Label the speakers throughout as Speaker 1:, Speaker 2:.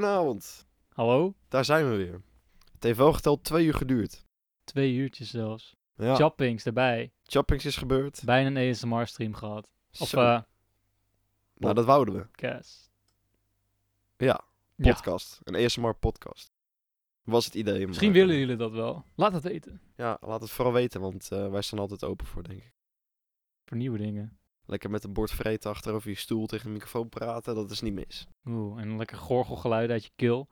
Speaker 1: Goedenavond.
Speaker 2: Hallo?
Speaker 1: Daar zijn we weer. Het heeft wel geteld twee uur geduurd.
Speaker 2: Twee uurtjes zelfs.
Speaker 1: Ja,
Speaker 2: Choppings erbij.
Speaker 1: choppings is gebeurd.
Speaker 2: Bijna een ASMR-stream gehad. Of
Speaker 1: Zo.
Speaker 2: eh
Speaker 1: nou, dat wouden we.
Speaker 2: podcast.
Speaker 1: Ja,
Speaker 2: Ja.
Speaker 1: podcast. Een ASMR-podcast. Was het idee. maar-
Speaker 2: Misschien willen jullie dat wel. Laat het weten.
Speaker 1: Ja, laat het vooral weten, want eh, wij staan altijd open voor, denk ik.
Speaker 2: Voor nieuwe dingen.
Speaker 1: Lekker met een bord vreten achterover je stoel tegen de microfoon praten, dat is niet mis.
Speaker 2: Oeh, en een lekker gorgelgeluid uit je keel.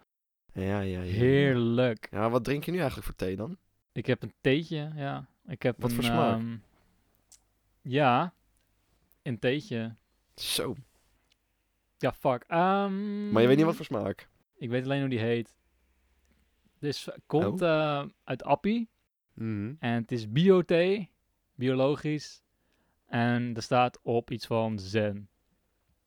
Speaker 1: Ja, ja, ja.
Speaker 2: Heerlijk.
Speaker 1: Ja, wat drink je nu eigenlijk voor thee dan?
Speaker 2: Ik heb een theetje, ja. Ik heb
Speaker 1: Wat
Speaker 2: een,
Speaker 1: voor smaak?
Speaker 2: ehm, ja, een theetje.
Speaker 1: Zo.
Speaker 2: Ja, fuck. Ehm,
Speaker 1: Maar je weet niet wat voor smaak.
Speaker 2: Ik weet alleen hoe die heet. Dus komt
Speaker 1: Oh.
Speaker 2: eh, uit Appie. En het is bio-thee, biologisch. En er staat op iets van zen.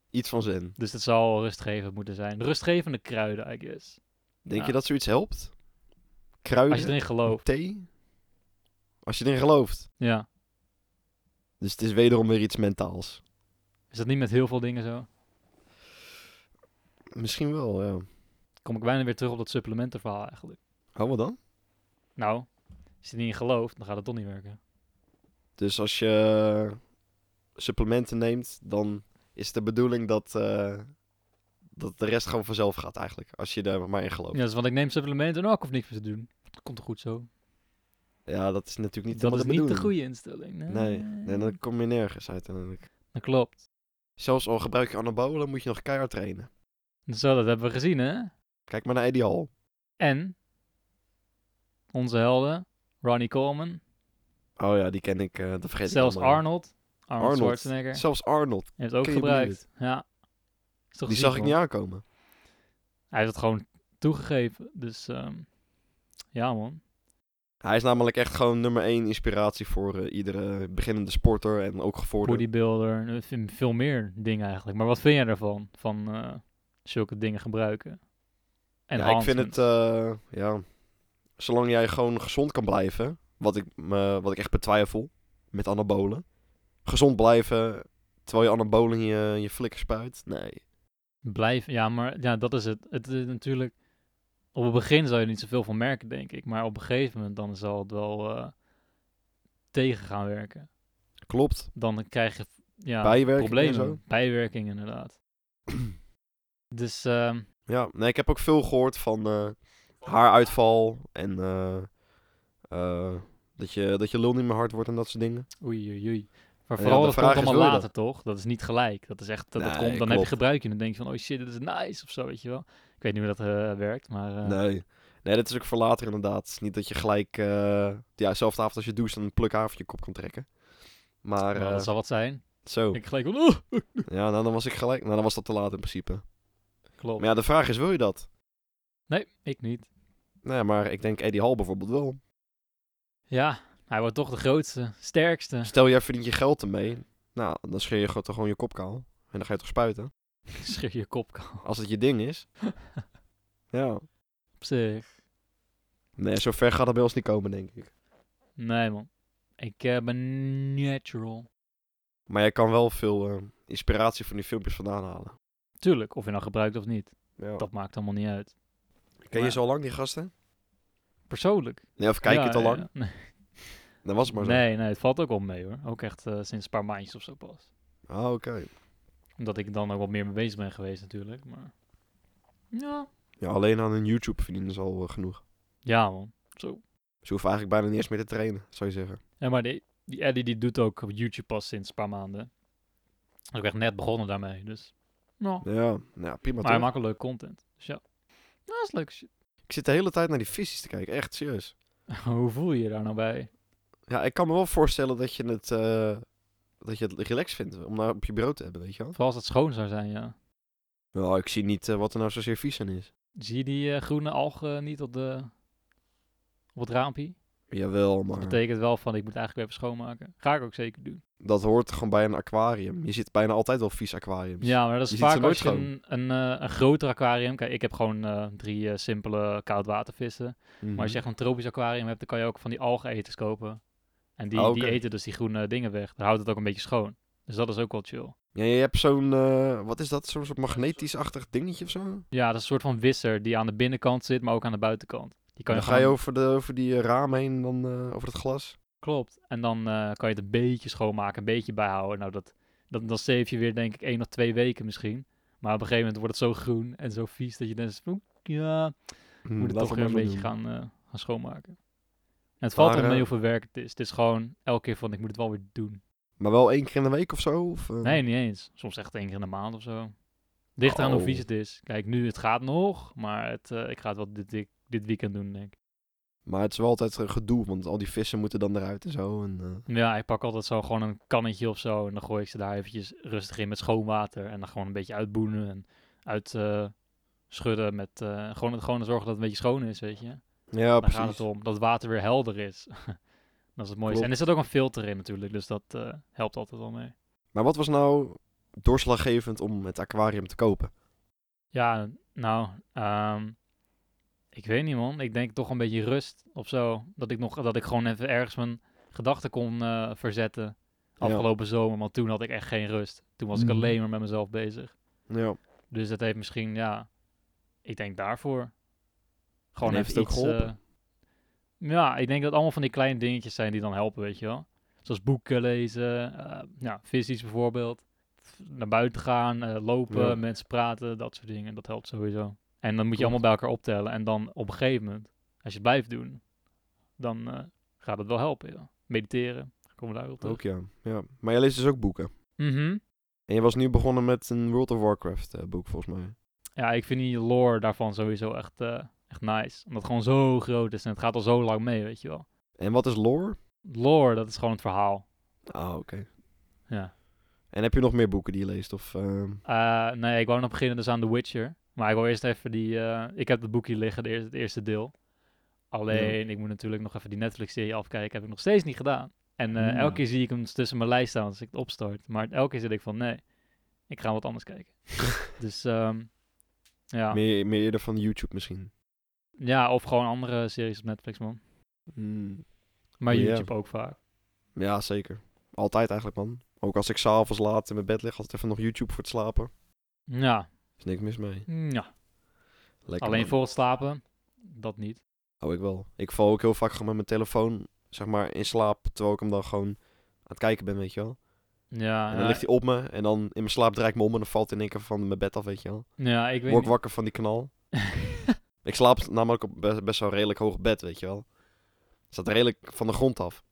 Speaker 1: Iets van zin.
Speaker 2: Dus dat zal rustgevend moeten zijn. Rustgevende kruiden, I guess.
Speaker 1: Denk
Speaker 2: Ja.
Speaker 1: je dat zoiets helpt? Kruiden?
Speaker 2: Als je erin gelooft.
Speaker 1: Thee? Als je erin gelooft.
Speaker 2: Ja.
Speaker 1: Dus het is wederom weer iets mentaals.
Speaker 2: Is dat niet met heel veel dingen zo?
Speaker 1: Misschien wel, ja.
Speaker 2: Kom ik bijna weer terug op dat supplementenverhaal eigenlijk.
Speaker 1: Hou Oh, wat dan?
Speaker 2: Nou, als je er niet in gelooft, dan gaat het toch niet werken.
Speaker 1: Dus als je supplementen neemt, dan is de bedoeling dat, eh, dat de rest gewoon vanzelf gaat eigenlijk. Als je er maar in gelooft.
Speaker 2: Ja,
Speaker 1: Ja,
Speaker 2: dus, want ik neem supplementen en ook of niks meer te doen. Dat komt toch goed zo?
Speaker 1: dat is natuurlijk niet
Speaker 2: dat is
Speaker 1: helemaal
Speaker 2: niet
Speaker 1: bedoeling.
Speaker 2: de goede instelling. Nee.
Speaker 1: Nee, nee, dan kom je nergens uit uiteindelijk.
Speaker 2: Dat klopt.
Speaker 1: Zelfs al gebruik je anabolen, moet je nog keihard trainen.
Speaker 2: Zo, dat hebben we gezien, hè?
Speaker 1: Kijk maar naar Eddie Hall.
Speaker 2: En onze helden, Ronnie Coleman,
Speaker 1: Oh ja, die ken ik. eh dat vergeet
Speaker 2: zelfs
Speaker 1: ik allemaal.
Speaker 2: Arnold, Arnold,
Speaker 1: Arnold.
Speaker 2: Schwarzenegger,
Speaker 1: Zelfs Arnold.
Speaker 2: heeft het ook
Speaker 1: Ken je
Speaker 2: gebruikt. Ja. Is toch
Speaker 1: Die
Speaker 2: ziek,
Speaker 1: zag ik
Speaker 2: man.
Speaker 1: niet aankomen.
Speaker 2: Hij heeft het gewoon toegegeven, dus ehm, ja man.
Speaker 1: Hij is namelijk echt gewoon nummer één inspiratie voor eh, iedere beginnende sporter en ook gevorderde.
Speaker 2: Bodybuilder, eh, v- veel meer dingen eigenlijk. Maar wat vind jij daarvan, van eh, zulke dingen gebruiken? En
Speaker 1: ja, ik vind het, eh, ja, zolang jij gewoon gezond kan blijven, wat ik, me, wat ik echt betwijfel met anabolen. Gezond blijven terwijl je anabolen in je, in je flikker spuit. Nee.
Speaker 2: Blijf, ja maar ja, dat is het. Het is natuurlijk, op het begin zou je er niet zoveel van merken denk ik. Maar op een gegeven moment dan zal het wel eh, tegen gaan werken.
Speaker 1: Klopt.
Speaker 2: dan krijg je ja,
Speaker 1: Bijwerkingen
Speaker 2: problemen.
Speaker 1: en zo.
Speaker 2: Bijwerking inderdaad. dus ehm,
Speaker 1: Ja, nee, ik heb ook veel gehoord van eh, haaruitval en eh, eh, dat, je, dat je lul niet meer hard wordt en dat soort dingen.
Speaker 2: oei, oei, oei. Maar
Speaker 1: Ja,
Speaker 2: vooral
Speaker 1: de
Speaker 2: dat
Speaker 1: vraag
Speaker 2: komt
Speaker 1: is,
Speaker 2: allemaal
Speaker 1: wil je
Speaker 2: later, toch? Dat is niet gelijk. Dat is echt, dat, dat
Speaker 1: Nee,
Speaker 2: komt, dan heb
Speaker 1: klopt.
Speaker 2: je gebruik en dan denk je van, oh shit, dit is nice of zo, weet je wel. Ik weet niet hoe dat eh, werkt, maar eh,
Speaker 1: Nee. Nee, dat is ook voor later inderdaad. Het is niet dat je gelijk, eh ja, zelfde avond als je doucht, een pluk haar van je kop kan trekken. Maar,
Speaker 2: nou,
Speaker 1: eh, Oh.
Speaker 2: dat zal wat zijn.
Speaker 1: zo.
Speaker 2: Ik gelijk van, oeh,
Speaker 1: Ja, nou, dan was ik gelijk. Nou, dan was dat te laat in principe.
Speaker 2: klopt.
Speaker 1: Maar ja, de vraag is, wil je dat?
Speaker 2: Nee, ik niet.
Speaker 1: Nee, maar ik denk Eddie Hall bijvoorbeeld wel.
Speaker 2: Ja, hij wordt toch de grootste, sterkste.
Speaker 1: Stel, jij verdient je geld ermee. Nou, dan scheer je gewoon- toch gewoon je kop kaal. En dan ga je toch spuiten.
Speaker 2: Schrik je kop kan.
Speaker 1: Als het je ding is. Ja.
Speaker 2: Op zich.
Speaker 1: Nee, zo ver gaat het bij ons niet komen, denk ik.
Speaker 2: Nee man, ik eh, ben natural.
Speaker 1: Maar jij kan wel veel eh, inspiratie van die filmpjes vandaan halen.
Speaker 2: Tuurlijk, of je nou gebruikt of niet,
Speaker 1: Ja.
Speaker 2: dat maakt allemaal niet uit.
Speaker 1: Ken je
Speaker 2: maar-
Speaker 1: zo lang, die gasten?
Speaker 2: Persoonlijk.
Speaker 1: Nee, of kijk
Speaker 2: Ja,
Speaker 1: je het al lang?
Speaker 2: ja, nee.
Speaker 1: Dan was het maar zo.
Speaker 2: nee, nee, het valt ook wel mee hoor. Ook echt eh, sinds een paar maandjes of zo pas.
Speaker 1: Ah, oké.
Speaker 2: Omdat ik dan ook wat meer mee bezig ben geweest natuurlijk. Maar... Ja.
Speaker 1: Ja, alleen aan hun YouTube verdienen is al eh, genoeg.
Speaker 2: ja man, zo.
Speaker 1: Ze hoeven eigenlijk bijna niet eens meer te trainen, zou je zeggen.
Speaker 2: Ja, maar die, die Eddie die doet ook op YouTube pas sinds een paar maanden. Hij is ook echt net begonnen daarmee, dus. Nou,
Speaker 1: Ja, nou, ja, prima
Speaker 2: maar hij
Speaker 1: toch?
Speaker 2: maakt wel leuk content. Dus ja. Nou, dat is leuk. shit.
Speaker 1: Ik zit de hele tijd naar die visjes te kijken, echt serieus.
Speaker 2: Hoe voel je je daar nou bij?
Speaker 1: Ja, ik kan me wel voorstellen dat je het, eh, dat je het relaxed vindt om daar op je bureau te hebben, weet je wel.
Speaker 2: Vooral als het schoon zou zijn, ja.
Speaker 1: Nou, ik zie niet eh, wat er nou zozeer vies aan is.
Speaker 2: Zie je die eh, groene algen niet op, de, op het raampje?
Speaker 1: Jawel,
Speaker 2: Dat
Speaker 1: maar
Speaker 2: betekent wel van, ik moet eigenlijk weer even schoonmaken. Ga ik ook zeker doen.
Speaker 1: dat hoort gewoon bij een aquarium. Je zit bijna altijd wel vies aquariums.
Speaker 2: Ja, maar dat
Speaker 1: Je ziet
Speaker 2: is
Speaker 1: ze
Speaker 2: vaak
Speaker 1: nooit
Speaker 2: als je een, een, eh, een groter aquarium... Kijk, ik heb gewoon eh, drie eh, simpele koudwatervissen.
Speaker 1: Mhm.
Speaker 2: Maar als je echt een tropisch aquarium hebt, dan kan je ook van die algeneters kopen. En die,
Speaker 1: Ah, oké.
Speaker 2: die eten dus die groene dingen weg. Dan houdt het ook een beetje schoon. Dus dat is ook wel chill.
Speaker 1: Ja, je hebt zo'n, eh, wat is dat? Zo'n soort magnetisch-achtig dingetje of zo? En
Speaker 2: Ja, dat is een soort van wisser die aan de binnenkant zit, maar ook aan de buitenkant. Die kan je
Speaker 1: dan ga je
Speaker 2: gewoon-
Speaker 1: over, de, over die eh, raam heen, dan, eh, over het glas.
Speaker 2: Klopt. En dan eh, kan je het een beetje schoonmaken, een beetje bijhouden. Nou, dat, dat, dan save je weer denk ik één of twee weken misschien. Maar op een gegeven moment wordt het zo groen en zo vies dat je denkt, "Oeh, ja,
Speaker 1: Hmm,
Speaker 2: moet het
Speaker 1: laten
Speaker 2: toch
Speaker 1: we
Speaker 2: weer een
Speaker 1: maar
Speaker 2: beetje
Speaker 1: doen.
Speaker 2: gaan, eh, gaan schoonmaken. En het valt
Speaker 1: Maar,
Speaker 2: er mee
Speaker 1: eh,
Speaker 2: hoeveel werk het is. Het is gewoon elke keer van, ik moet het wel weer doen.
Speaker 1: Maar wel één keer in de week of zo? Of, eh?
Speaker 2: Nee, niet eens. Soms echt één keer in de maand of zo. Ligt eraan hoe
Speaker 1: Oh.
Speaker 2: vies het is. Kijk, nu, het gaat nog, maar het, eh, ik ga het wel dit, dit, dit weekend doen, denk ik.
Speaker 1: Maar het is wel altijd een gedoe, want al die vissen moeten dan eruit en zo. En, eh,
Speaker 2: Ja, ik pak altijd zo gewoon een kannetje of zo en dan gooi ik ze daar eventjes rustig in met schoon water. En dan gewoon een beetje uitboenen en uit... eh, schudden met eh, gewoon, gewoon zorgen dat het een beetje schoon is, weet je.
Speaker 1: Ja,
Speaker 2: Daar
Speaker 1: precies.
Speaker 2: gaat het om. Dat het water weer helder is. dat is het mooiste.
Speaker 1: Klopt.
Speaker 2: En er zit ook een filter in natuurlijk, dus dat eh, helpt altijd wel mee.
Speaker 1: Maar wat was nou doorslaggevend om het aquarium te kopen?
Speaker 2: Ja, nou, ehm, ik weet niet man. Ik denk toch een beetje rust of zo. Dat ik, nog, dat ik gewoon even ergens mijn gedachten kon eh, verzetten afgelopen zomer. Want toen had ik echt geen rust. Toen was ik
Speaker 1: Mhm.
Speaker 2: alleen maar met mezelf bezig.
Speaker 1: Ja.
Speaker 2: Dus dat heeft misschien, ja, ik denk daarvoor. Gewoon
Speaker 1: En
Speaker 2: even
Speaker 1: heeft het ook
Speaker 2: iets,
Speaker 1: geholpen?
Speaker 2: eh, ja, ik denk dat allemaal van die kleine dingetjes zijn die dan helpen, weet je wel. Zoals boeken lezen, eh ja, visies bijvoorbeeld. F- Naar buiten gaan, eh, lopen,
Speaker 1: Ja.
Speaker 2: mensen praten, dat soort dingen. Dat helpt sowieso. En dan moet
Speaker 1: Klopt.
Speaker 2: je allemaal bij elkaar optellen. En dan op een gegeven moment, als je het blijft doen, dan eh, gaat het wel helpen. Ja. Mediteren, komen we daarop terug.
Speaker 1: Ook ja. ja. Maar jij leest dus ook boeken.
Speaker 2: Mhm.
Speaker 1: En je was nu begonnen met een World of Warcraft eh, boek, volgens mij.
Speaker 2: Ja, ik vind die lore daarvan sowieso echt, eh, echt nice. Omdat het gewoon zo groot is en het gaat al zo lang mee, weet je wel.
Speaker 1: En wat is lore?
Speaker 2: Lore, dat is gewoon het verhaal.
Speaker 1: Ah, oké.
Speaker 2: Ja.
Speaker 1: En heb je nog meer boeken die je leest? Of, ehm,
Speaker 2: Eh, nee, ik wou nog beginnen dus aan The Witcher. Maar ik wil eerst even die... eh, ik heb het boekje liggen, de eerste- het eerste deel. Alleen, ik moet natuurlijk nog even die Netflix-serie afkijken. Heb ik nog steeds niet gedaan. En eh,
Speaker 1: Mm.
Speaker 2: elke keer zie ik hem tussen mijn lijst staan als ik het opstart. Maar elke keer zit ik van, nee, ik ga wat anders kijken. dus, ehm, ja.
Speaker 1: meer, meer eerder van YouTube misschien?
Speaker 2: ja, of gewoon andere series op Netflix, man.
Speaker 1: Hmm.
Speaker 2: Maar
Speaker 1: Ja.
Speaker 2: YouTube ook vaak.
Speaker 1: Ja, zeker. Altijd eigenlijk, man. Ook als ik s'avonds laat in mijn bed lig, altijd even nog YouTube voor het slapen.
Speaker 2: Ja,
Speaker 1: Is niks mis mee.
Speaker 2: ja.
Speaker 1: Lekker,
Speaker 2: alleen
Speaker 1: man.
Speaker 2: voor het slapen, dat niet.
Speaker 1: Oh, ik wel. Ik val ook heel vaak gewoon met mijn telefoon, zeg maar, in slaap. Terwijl ik hem dan gewoon aan het kijken ben, weet je wel.
Speaker 2: Ja,
Speaker 1: En dan
Speaker 2: Ah, ja, eh,
Speaker 1: ligt hij op me en dan in mijn slaap draai ik me om en dan valt hij in één keer van mijn bed af, weet je wel.
Speaker 2: ja, ik weet
Speaker 1: Word ik
Speaker 2: niet.
Speaker 1: wakker van die knal. Ik slaap namelijk op best, best wel redelijk hoog bed, weet je wel. Het staat redelijk van de grond af.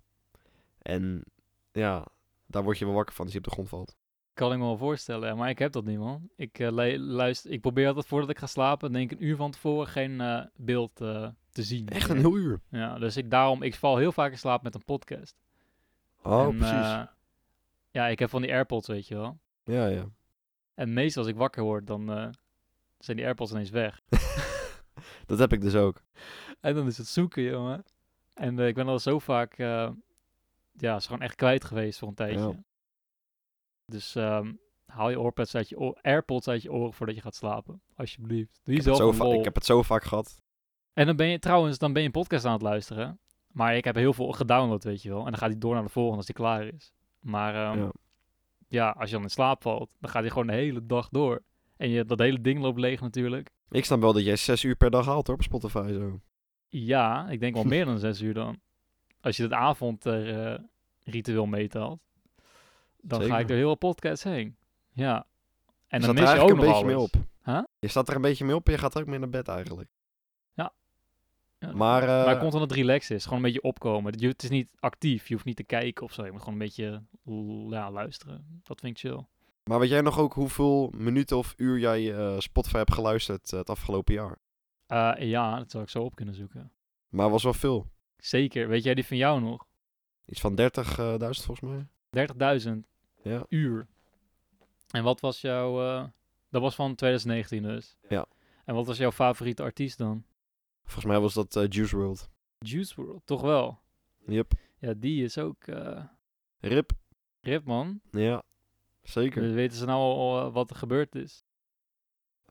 Speaker 1: En ja, daar word je wel wakker van als je op de grond valt.
Speaker 2: kan ik me wel voorstellen, maar ik heb dat niet, man. Ik, eh, le- luister, ik probeer altijd voordat ik ga slapen, denk ik een uur van tevoren, geen eh, beeld eh, te zien.
Speaker 1: Echt een heel uur.
Speaker 2: Ja, dus ik daarom, ik val heel vaak in slaap met een podcast.
Speaker 1: Oh,
Speaker 2: En,
Speaker 1: precies.
Speaker 2: eh, ja, ik heb van die AirPods, weet je wel.
Speaker 1: Ja, ja.
Speaker 2: En meestal als ik wakker word, dan eh, zijn die AirPods ineens weg.
Speaker 1: Dat heb ik dus ook.
Speaker 2: En dan is het zoeken, jongen. En eh, ik ben al zo vaak, eh, ja, is gewoon echt kwijt geweest voor een tijdje.
Speaker 1: Ja.
Speaker 2: Dus ehm, haal je oorpads uit je oor- AirPods uit je oren voordat je gaat slapen, alsjeblieft.
Speaker 1: Ik heb, het
Speaker 2: Doe jezelf
Speaker 1: zo
Speaker 2: een
Speaker 1: va-
Speaker 2: lol.
Speaker 1: ik heb het zo vaak gehad.
Speaker 2: En dan ben je trouwens, dan ben je een podcast aan het luisteren. Maar ik heb heel veel gedownload, weet je wel. En dan gaat hij door naar de volgende als die klaar is. Maar ehm,
Speaker 1: Ja.
Speaker 2: ja. als je dan in slaap valt, dan gaat hij gewoon de hele dag door. En je, dat hele ding loopt leeg natuurlijk.
Speaker 1: Ik snap wel dat jij zes uur per dag haalt hoor, op Spotify zo.
Speaker 2: Ja, ik denk wel meer dan zes uur dan. Als je het avondritueel eh, meetelt, dan ga
Speaker 1: Zeker. Dus
Speaker 2: ik door heel wat podcasts heen. Ja. En
Speaker 1: Je staat er
Speaker 2: dan mis je ook
Speaker 1: eigenlijk
Speaker 2: nog
Speaker 1: een beetje
Speaker 2: alles.
Speaker 1: mee op.
Speaker 2: Huh?
Speaker 1: Je staat er een beetje mee op en je gaat ook mee naar bed eigenlijk.
Speaker 2: Ja.
Speaker 1: Maar, eh,
Speaker 2: maar het komt omdat het relax is. Gewoon een beetje opkomen. Dat je- Het is niet actief. Je hoeft niet te kijken of zo. Je moet gewoon een beetje l- ja, luisteren. Dat vind ik chill.
Speaker 1: maar weet jij nog ook hoeveel minuten of uur jij eh, Spotify hebt geluisterd eh, het afgelopen jaar?
Speaker 2: Eh, ja, dat zou ik zo op kunnen zoeken.
Speaker 1: Maar was wel veel.
Speaker 2: Zeker. Weet jij die van jou nog?
Speaker 1: Iets van 30.000 volgens mij.
Speaker 2: 30.000
Speaker 1: Ja.
Speaker 2: uur. En wat was jouw... eh, dat was van 2019 dus.
Speaker 1: Ja.
Speaker 2: En wat was jouw favoriete artiest dan?
Speaker 1: Volgens mij was dat eh, Juice World.
Speaker 2: Juice WRLD, toch wel?
Speaker 1: Yep.
Speaker 2: Ja, die is ook... eh
Speaker 1: Rip.
Speaker 2: rip, man.
Speaker 1: Ja. Zeker.
Speaker 2: Dus weten ze nou al eh, wat er gebeurd is?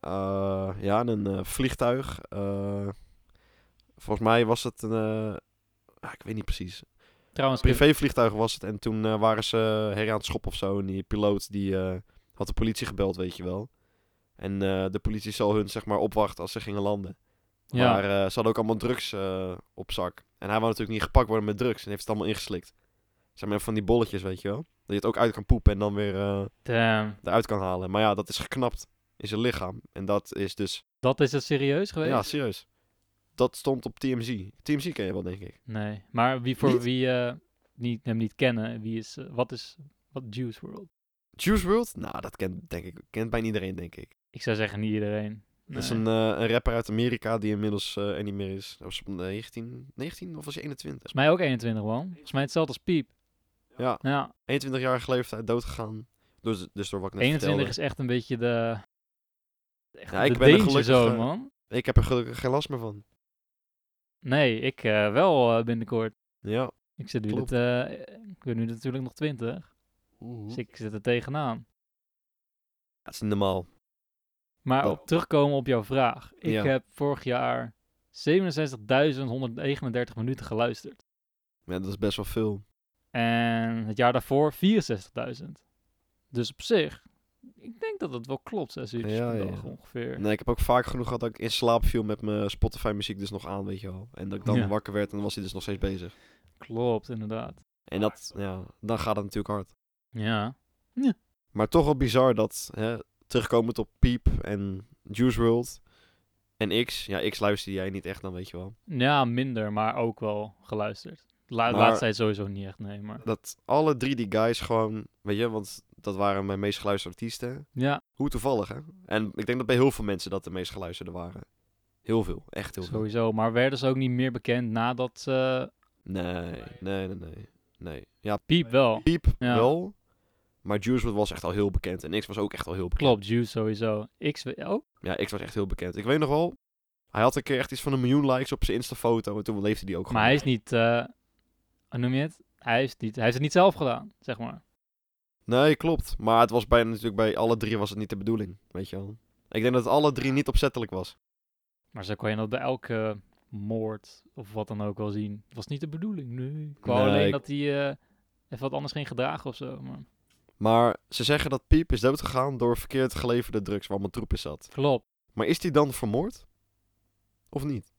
Speaker 1: Eh, ja, en een eh, vliegtuig. eh, volgens mij was het een... eh, ah, ik weet niet precies.
Speaker 2: Trouwens,
Speaker 1: Privévliegtuig was het. En toen eh, waren ze her aan het schop of zo. En die piloot die, eh, had de politie gebeld, weet je wel. En eh, de politie zal hun zeg maar opwachten als ze gingen landen.
Speaker 2: Ja.
Speaker 1: Maar eh, ze hadden ook allemaal drugs eh, op zak. En hij wou natuurlijk niet gepakt worden met drugs. En heeft het allemaal ingeslikt. Zeg maar van die bolletjes, weet je wel. Dat je het ook uit kan poepen en dan weer eh,
Speaker 2: Damn.
Speaker 1: eruit kan halen. Maar ja, dat is geknapt in zijn lichaam. En dat is dus...
Speaker 2: Dat is het serieus geweest?
Speaker 1: Ja, serieus. Dat stond op TMZ. TMZ ken je wel, denk ik.
Speaker 2: Nee. Maar wie voor
Speaker 1: Niet?
Speaker 2: wie eh, niet, hem niet kennen, wie is, eh, wat is wat Juice World?
Speaker 1: Juice WRLD? Nou, dat kent, denk ik, kent bijna iedereen, denk ik.
Speaker 2: Ik zou zeggen niet iedereen.
Speaker 1: Dat is
Speaker 2: Nee.
Speaker 1: een, eh, een rapper uit Amerika die inmiddels eh, er niet meer is. Hij was op 19, 19 of was hij 21?
Speaker 2: Volgens mij ook 21, man. Volgens mij hetzelfde als Piep.
Speaker 1: Ja,
Speaker 2: Ja,
Speaker 1: 21-jarige leeftijd doodgegaan. Dus, dus door wat ik net
Speaker 2: 21
Speaker 1: vertelde.
Speaker 2: is echt een beetje de... Echt
Speaker 1: Ja, ik
Speaker 2: de
Speaker 1: ben er
Speaker 2: Deense
Speaker 1: gelukkig,
Speaker 2: zoon,
Speaker 1: eh,
Speaker 2: man.
Speaker 1: Ik heb er gelukkig geen last meer van.
Speaker 2: Nee, ik eh, wel eh, binnenkort.
Speaker 1: Ja.
Speaker 2: Ik zit nu,
Speaker 1: Klopt.
Speaker 2: dit, eh, ik ben nu natuurlijk nog 20, dus ik zit er tegenaan.
Speaker 1: Dat is niet normaal.
Speaker 2: Maar
Speaker 1: Oh.
Speaker 2: op, terugkomen op jouw vraag. Ik
Speaker 1: Ja.
Speaker 2: heb vorig jaar 67.139 minuten geluisterd.
Speaker 1: Ja, dat is best wel veel.
Speaker 2: En het jaar daarvoor 64.000. Dus op zich, ik denk dat het wel klopt, 6 uur
Speaker 1: Ja, ja.
Speaker 2: per dag ongeveer.
Speaker 1: Nee, ik heb ook vaak genoeg gehad dat ik in slaap viel met mijn Spotify muziek dus nog aan, weet je wel. En dat ik dan
Speaker 2: Ja.
Speaker 1: wakker werd en dan was hij dus nog steeds bezig.
Speaker 2: Klopt, inderdaad.
Speaker 1: En dat, ja, dan gaat het natuurlijk hard.
Speaker 2: Ja.
Speaker 1: Maar toch wel bizar dat, hè, terugkomend op Piep en Juice WRLD en X. Ja, X luisterde jij niet echt dan, weet je wel.
Speaker 2: ja, minder, maar ook wel geluisterd. La
Speaker 1: Maar-
Speaker 2: Laatst tijd sowieso niet echt, nee. Maar...
Speaker 1: Dat alle drie die guys gewoon, weet je, want dat waren mijn meest geluisterde artiesten.
Speaker 2: Ja,
Speaker 1: Hoe toevallig, hè? En ik denk dat bij heel veel mensen dat de meest geluisterde waren. Heel veel, echt heel veel.
Speaker 2: sowieso. Maar werden ze ook niet meer bekend nadat ze...
Speaker 1: Nee, nee, nee, nee. nee. Ja,
Speaker 2: Piep wel.
Speaker 1: Piep
Speaker 2: Ja.
Speaker 1: wel. Maar Juice WRLD was echt al heel bekend. En X was ook echt al heel bekend.
Speaker 2: Klopt, Juice sowieso. oh, Ik ook?
Speaker 1: Ja, X was echt heel bekend. Ik weet nog wel, hij had een keer echt iets van een miljoen likes op zijn Insta-foto. En toen leefde die ook gewoon.
Speaker 2: Maar hij is niet... eh, hoe noem je het? Hij, is niet, hij heeft het niet zelf gedaan, zeg maar.
Speaker 1: Nee, klopt. Maar het was bij, natuurlijk bij alle drie was het niet de bedoeling. Weet je wel. Ik denk dat het alle drie niet opzettelijk was.
Speaker 2: Maar zo kan je dat bij elke moord of wat dan ook wel zien. Het was niet de bedoeling, nee. Ik wou
Speaker 1: Nee,
Speaker 2: alleen
Speaker 1: ik-
Speaker 2: dat hij eh, even wat anders ging gedragen of zo. Maar...
Speaker 1: Maar ze zeggen dat Piep is doodgegaan door verkeerd geleverde drugs waar mijn troep in zat.
Speaker 2: Klopt.
Speaker 1: Maar is die dan vermoord? Of niet?